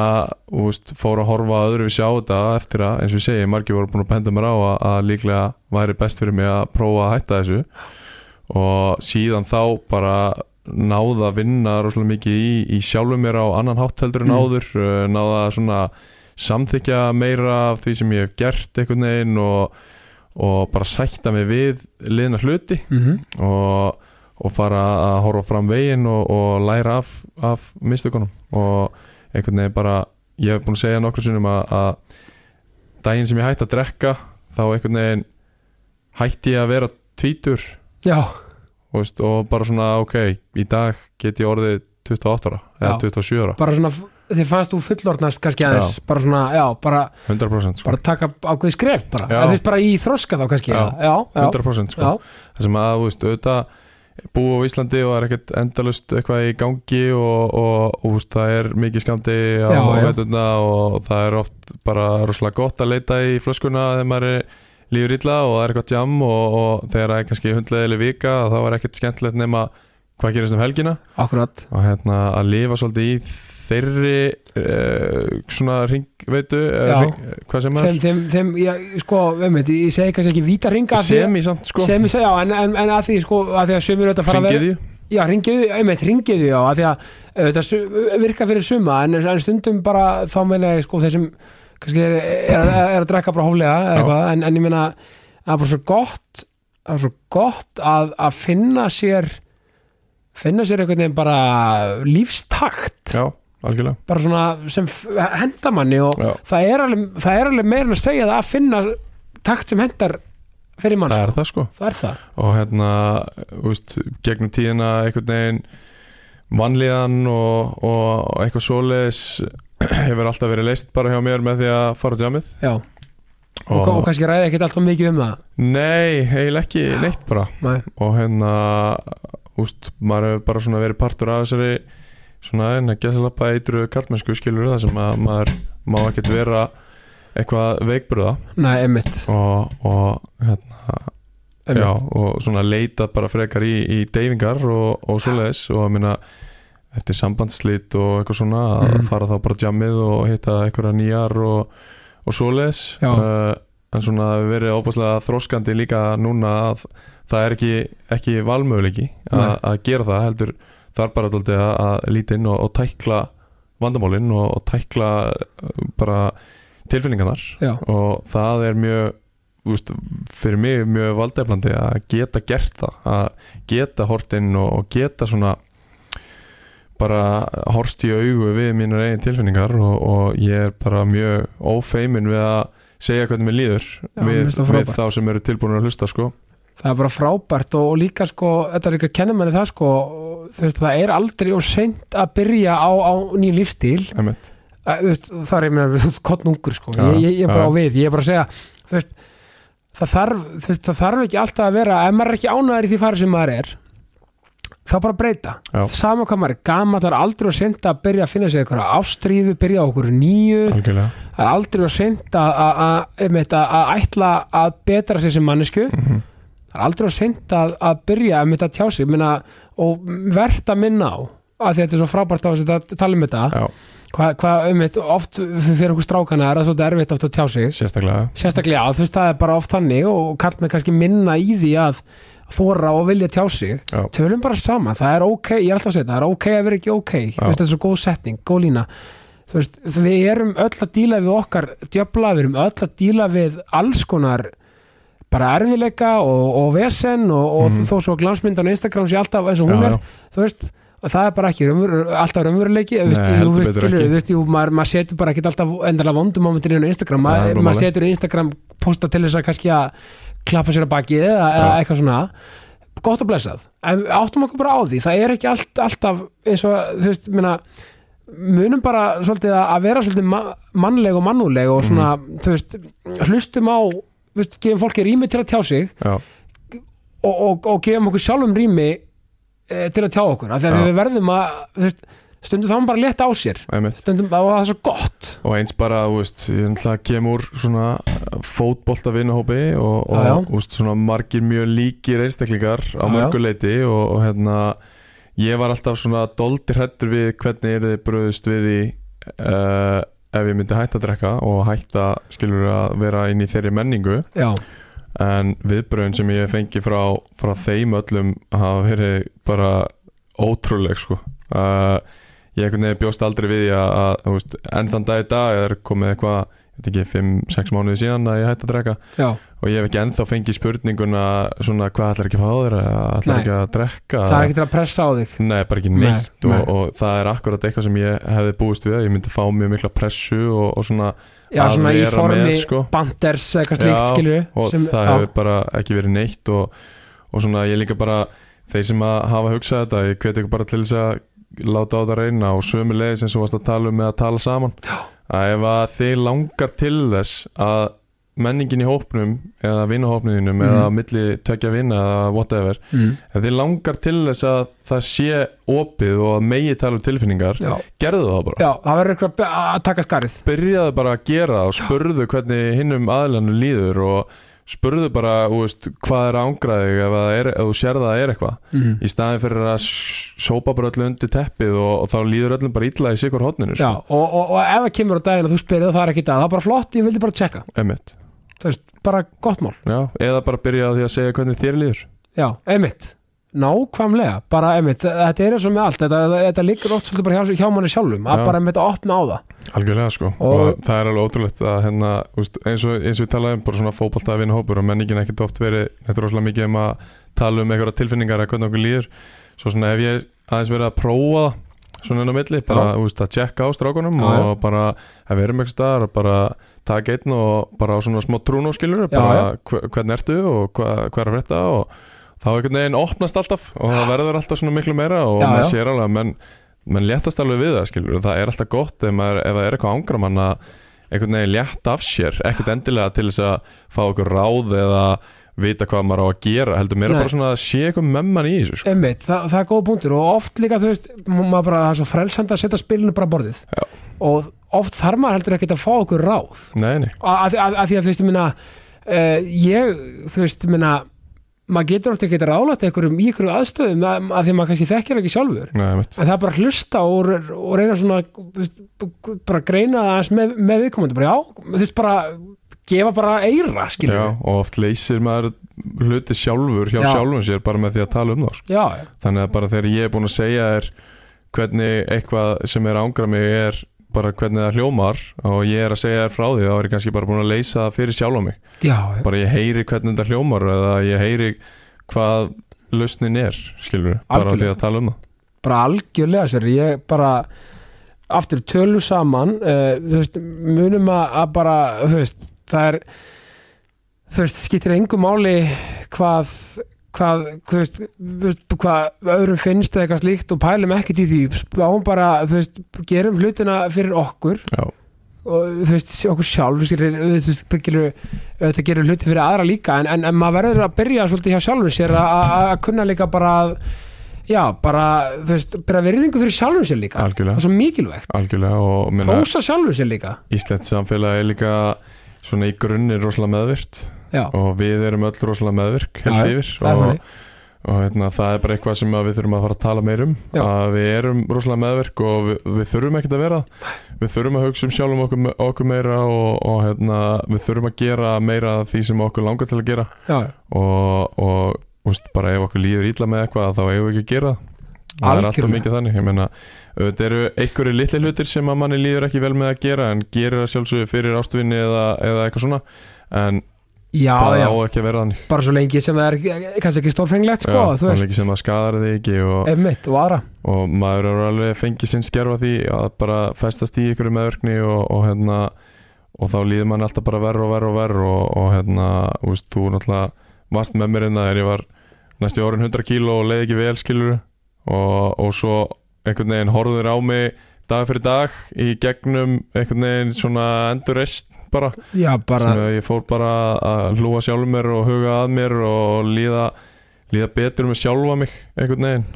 úst, fór að horfa öðru við sjá þetta eftir að eins og ég segi, margir voru búin að benda mér á að, að líklega væri best fyrir mig að prófa að hætta þessu og síðan þá bara náða að vinna rosalega mikið í, í sjálfu mér á annan hátt heldur en Mm. áður mm. náða að svona samþykja meira af því sem ég hef gert einhvern veginn og, og bara sætta mig við liðna hluti mm og, og fara að horfa fram veginn og, og læra af, af mistökunum og einhvern veginn bara ég hef búin að segja nokkur sinnum að, að daginn sem ég hætti að drekka þá einhvern veginn hætti ég að vera tvítur já, þú veist, og bara svona ok, í dag get ég orðið 28 ára eða Já. 27 ára, bara svona þið fannst þú fullorðnast kannski aðeins bara svona, já, bara, 100% sko. bara taka ákveði skref bara, Já. eða þú veist bara í þroska þá kannski Já. já, já, já, 100% sko. já. það sem að, þú veist, auðvitað búa á Íslandi og það er ekkert endalust eitthvað í gangi og, og, og úst, það er mikið skandi á Já, já. veturna og það er oft bara rosalega gott að leita í flöskuna þegar maður er lífur illa og það er eitthvað jam og, og þegar það er kannski hundleðileg vika þá er ekkert skemmtilegt nema hvað gerist um helgina akkurat og hérna að lifa svolítið í þeirri uh, svona ringveitu Já. uh, ring, hvað sem þeim, er þeim, þeim, já, sko, veit, veit, ég segi kannski ekki víta ringa sem í samt sko sem ég segja, en, en, en að því sko, að því að sömur auðvitað fara að vera- ringiði Já, ringiðu, einmitt, ringiðu, já, af því að auðvitað su- virka fyrir suma en, en stundum bara þá meina ég sko þessum kannski er, er, er, er að drekka bara hóflega eða Já. eitthvað, en, en ég meina það er bara svo gott það er svo gott að, að finna sér finna sér einhvern veginn bara lífstakt já, algjörlega bara svona sem f- henda manni og Já. það er, alveg, það er alveg meira en að segja það að finna takt sem hendar fyrir mann, það sko. er það sko það er það og hérna, úst, gegnum tíðina einhvern veginn vanlíðan og, og eitthvað svoleiðis hefur alltaf verið leist bara hjá mér með því að fara á djamið já, og, og, kannski ræði ekkert alltaf mikið um það nei, eiginlega ekki neitt bara Nei. og hérna úst, maður hefur bara svona verið partur af þessari svona en að geta lappa eitru kallmennsku skilur það sem að maður má ekkert vera eitthvað veikburða Nei, einmitt, og, og hérna einmitt. já, og svona leita bara frekar í, í deyfingar og, og svoleiðis og að minna eftir sambandslít og eitthvað svona að Mhm. fara þá bara jammið og hitta eitthvað nýjar og, og svoleiðis Já. Eh, en svona það hefur verið óbúslega þróskandi líka núna að það er ekki, ekki valmöguleiki að Nei. að gera það heldur það er bara dálítið að, að líta inn og, og tækla vandamálin og, og tækla eh, bara tilfinningarnar Já, og það er mjög úst, fyrir mig mjög valdeflandi að geta gert það að geta hort inn og, og geta svona bara horst í augu við mínar eigin tilfinningar og, og ég er bara mjög ófeimin við að segja hvernig mér líður Já, mér við, finnst það við frábært. þá sem eru tilbúin að hlusta sko. það er bara frábært og, og líka sko, þetta er líka að kenna manni það sko, og þú veist, það er aldrei og seint að byrja á, á nýjum lífstíl Einmitt. Að, þú veist, það er ég meina, þú veist, kottnungur sko, Já, ég, ég, ég er bara já. á við, ég er bara að segja þú veist, það þarf, þú veist, það þarf ekki alltaf að vera, ef maður er ekki ánæður í því fari sem maður er þá bara breyta, Já. sama hvað maður er gamall það er aldrei og seint að byrja að finna sig einhverja ástríðu, byrja á okkur nýju algjörlega það er aldrei og seint að- að- að einmitt, að- að ætla að betra sér sem mannesku Mhm. það er aldrei og seint að, að byrja að mynda að tjá sig mynda, og verðt að minna á að þetta er svo frábært á þess að tala um þetta Já, hvað hva, um oft fyrir okkur strákana er það svolítið erfitt oft að tjá sig sérstaklega sérstaklega þú veist það er bara oft þannig og kallt með kannski minna í því að þóra og vilja tjá sig Já. tölum bara saman, það er ok, ég er alltaf að segja það er ok að vera ekki ok, Þú veist, þetta er svo góð setning góð lína, þú veist við erum öll að díla við okkar djöfla, við erum öll að díla við alls konar bara erfileika og, og vesen og, og Mhm. þó svo glansmyndan á Instagram sé alltaf eins og hún Já, er já. þú veist, það er bara ekki raunver, alltaf raunveruleiki Nei, heldur betur ekki. maður maður setur bara ekki alltaf endalega vondum momentin inn á Instagram, Nei, það er maður nú maður málið. setur Instagram posta til þess að kannski að klappa sér að baki eða, eða Já. eitthvað svona gott að blessað, en við áttum okkur bara á því það er ekki allt, alltaf eins og þú veist, minna munum bara svolítið að að vera svolítið ma- mannleg og mannúleg og svona, Mhm. þú veist, hlustum á þú veist, gefum fólki rými til að tjá sig já, og, og, og gefum okkur sjálfum rými e, til að tjá okkur af því að Já. við verðum að þú veist, stundum þá bara létta á sér einmitt stundum þá var það svo gott og eins bara, þú veist, ég ætla að kemur úr svona fótbolta vinnahópi og, Já, já. og þú veist, svona margir mjög líkir einstaklingar Já, á já. mörgu leiti og, og hérna ég var alltaf svona doldi hrættur við hvernig er þið bröðust við í uh, ef ég myndi hætta að drekka og hætta, skilur að vera inn í þeirri menningu já, en viðbröðin sem ég fengi frá, frá þeim öllum hafa verið bara ótrúleg sko. uh, ég einhvern veginn bjóst aldrei við því að, að þú veist, enn þann dag í dag er komið eitthvað ég veit ekki, 5-6 mánuði síðan að ég hætti að drekka já, og ég hef ekki ennþá fengið spurninguna svona hvað ætlar ekki að fá þér eða ætlar Nei. ekki að drekka það er ekki til að pressa á þig Nei, bara ekki Nei, neitt nei. Og, og það er akkurat eitthvað sem ég hefði búist við að ég myndi fá mjög mikla pressu og, og svona já, Að svona í vera formi með, sko. banders eitthvað slíkt, Já, skilur við og það hefur bara ekki verið neitt og, og svona ég líka bara þeir sem að hafa hugsað þetta ég hveti ykkur bara til þess að láta á það reyna og sömu leiðis eins og varst að tala um með að tala saman Já. að ef að þið langar til þess að menningin í hópnum eða vinnahópnum þínum Mhm. eða á milli tökja vinna eða whatever mm, ef þið langar til þess að það sé opið og að megi tala um tilfinningar já, gerðu það bara já, það verður eitthvað að be- að taka skarið byrjaðu bara að gera það og spurðu hvernig hinnum aðlanu líður og spurðu bara þú veist, hvað er ángraðið ef, það er- ef þú sér það að er eitthvað mm. í staðin fyrir að s- sópa bara öllu undir teppið og, og þá líður öllum bara illa í sko, sikur hotninu já, og, og, og ef það kemur á daginn að þú spyrir það er ekki það, það er bara flott, ég vildi bara checka Einmitt. þú veist, bara gott mál Já, eða bara byrja á því að segja hvernig þér líður já, einmitt, nákvæmlega bara einmitt, þetta er eins og með allt þetta, þetta liggur oft svolítið bara hjá, hjá manni sjálfum að Já. bara einmitt að opna á það Algjörlega sko og, Og- það er alveg ótrúlegt að hérna úst, eins, og, eins og við talaðum bara svona fótbolta að vinna hópur og menningin ekkert oft verið þetta er rosalega mikið um að tala um einhverja tilfinningar eða hvernig okkur líður svo svona ef ég aðeins verið að prófa það svona inn á milli bara Já. úst, að tjekka á strákunum Já, og bara að vera með staðar og bara taka einn og bara á svona smá trúnóskilur Já, bara hve- hvernig ertu og hva, hvað er að frétta og þá einhvern veginn opnast alltaf og það verður alltaf svona miklu meira og Já, maður já. sér alveg að menn menn léttast alveg við það skilur það er alltaf gott ef, maður, ef það er eitthvað ángra mann að einhvern veginn létt af sér ekkert endilega til þess að fá okkur ráð eða vita hvað maður á að gera heldur mér Nei. bara svona að sé eitthvað með mann í þessu sko. einmitt, það, það er góð punktur og oft líka þú veist, ma- maður bara, það er svo frelsandi að setja spilinu bara á borðið Já. og oft þarf maður heldur ekkert að fá okkur ráð nei, nei, að, að, að, að því að þú veist, ég minna uh, ég, þú veist, ég minna maður getur oft ekkert ráðlætt einhverjum í einhverjum aðstöðum að, að því að maður kannski þekkir ekki sjálfur nei, en einmitt. það er bara að hlusta og, og reyna svona bara að greina það aðeins með, með viðkomandi bara já, þú veist bara gefa bara eira, skilur Já, við. og oft leysir maður hluti sjálfur hjá Já. sjálfum sér bara með því að tala um það sko. já, já, þannig að bara þegar ég er búin að segja þér hvernig eitthvað sem er ángra mig er bara hvernig það hljómar og ég er að segja þér frá því þá er ég kannski bara búin að leysa það fyrir sjálfa mig já, já, bara ég heyri hvernig þetta hljómar eða ég heyri hvað lausnin er, skilur bara Algjörlega. því að tala um það bara algjörlega sér ég bara aftur tölum saman uh, þú veist, munum að, að bara þú veist, það er þú veist, skiptir engu máli hvað hvað, þú veist, þú veist, hvað öðrum finnst eða eitthvað slíkt og pælum ekkert í því spáum bara, þú veist, gerum hlutina fyrir okkur Já, og þú veist, okkur sjálf þú skilur, þú veist, byggilur, þetta gerir hluti fyrir aðra líka en, en, en maður verður að byrja svolítið hjá sjálfum sér að- að að kunna líka bara að- já, bara, þú veist, byrja virðingu fyrir sjálfum sér líka, það er algjörlega, svo mikilvægt algjörlega og minna, hósa sjálfum sér líka Íslands samfélag er líka svona í grunni rosalega meðvirt já, og við erum öll rosalega meðvirk Já, held já, yfir það er og, þannig og hérna, það er bara eitthvað sem að við þurfum að fara að tala meir um Já. að við erum rosalega meðvirk og við, við þurfum ekkert að vera það. við þurfum að hugsa um sjálfum okkur, okkur meira og, og hérna, við þurfum að gera meira af því sem okkur langar til að gera já, og, og úst, bara ef okkur líður ítla með eitthvað þá eigum við ekki að gera það. það er alltaf Algjörlega. mikið þannig ég meina, auðvitað eru einhverju litli hlutir sem að manni líður ekki vel með að gera en gerir það sjálfsögur fyrir ástvinni eða, eða eitthvað svona en já, það já, á ekki að vera þannig bara svo lengi sem það er ekki- kannski ekki stórfenglegt sko, Já, þú þannig veist, ekki sem það skadar þig ekki og, einmitt og aðra og maður er alveg fengið sinn skerfa því að bara festast í ykkur meðverkni og, og hérna og þá líður mann alltaf bara verð og verð og verð og, og hérna, þú veist, þú náttúrulega varst með mér innan þegar ég var næstu orðin 100 kíló og leiði ekki vel skilur og, og svo einhvern veginn horfður á mig dag fyrir dag í gegnum einhvern veginn svona endurreist bara já, bara, sem ég fór bara að hlúa sjálfur mér og huga að mér og líða, líða betur með sjálfa mig einhvern veginn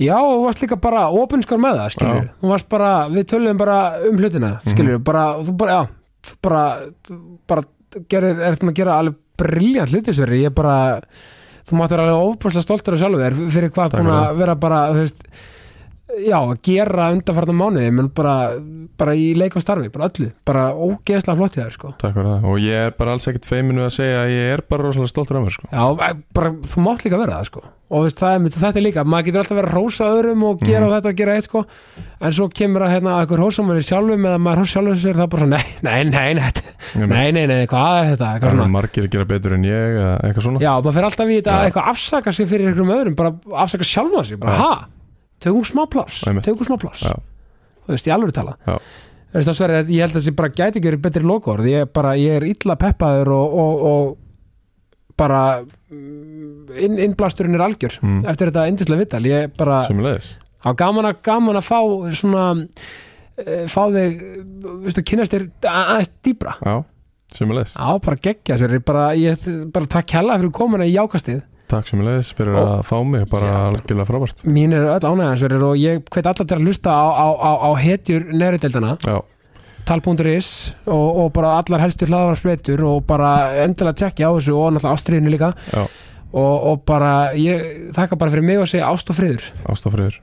já, og þú varst líka bara opinskar með það, skilur, Já. Mhm. þú varst bara við töluðum bara um hlutina, skilur bara, og þú bara, já, þú bara bara gerir, ert maður að gera alveg briljant hluti sverri, ég bara þú mátt vera alveg ofbúrslega stoltur af sjálfu þér fyrir hvað Takk búin fyrir að vera bara, þú veist já, að gera undanfarnar mánuði, menn bara bara í leik og starfi, bara öllu bara ógeðslega flott í þær, sko Takk fyrir það og ég er bara alls ekkert feiminu að segja að ég er bara rosalega stoltur af mér sko Já, eh, bara, þú mátt líka vera það sko og þú veist, það er, þetta er líka, maður getur alltaf verið að rósa öðrum og gera þetta og gera eitt sko en svo kemur að hérna að eitthvað rósa manni sjálfum eða maður hósa sjálfum sér það er bara svona nei, nei, nei, nei, þetta- Ég meina, nei, nei, nei, hvað er þetta eitthvað það eru svona, margir að gera betur en ég eða eitthvað svona já, maður fer alltaf í þetta að Hérna. Já. eitthvað afsaka sig fyrir einhverjum öðrum, bara afsaka sjálfa sig, bara Já. ha, tökum smá pláss Einmitt. tökum smá pláss, Já. þú veist, ég alveg tala Já. Þú veist, það sverið, ég held að þessi bara gæti ekki verið betri lokaorð, ég er bara, ég er illa peppaður og, og, og bara mm, inn, innblasturinn er algjör Mm. eftir þetta endislega vital, ég bara sem leiðis á gaman að, gaman að fá svona eh, fá þig, veistu, kynnast þér a- aðeins dýbra, Já, sem leiðis á bara geggja sér bara, ég, bara takk hella fyrir komuna í jákastið, Takk sem leiðis fyrir Ó. að fá mig bara Já. algjörlega frábært mín er öll ánægjansverir og ég hveit alla til að hlusta á, á, á, á hetjur neðri deildana Já, tal.is og, og bara allar helstu hlaðvarsveitur og bara endilega tjekkja á þessu og náttúrulega ástriðinu líka Já. og, og bara ég þakka bara fyrir mig og segja ást og friður ástafriður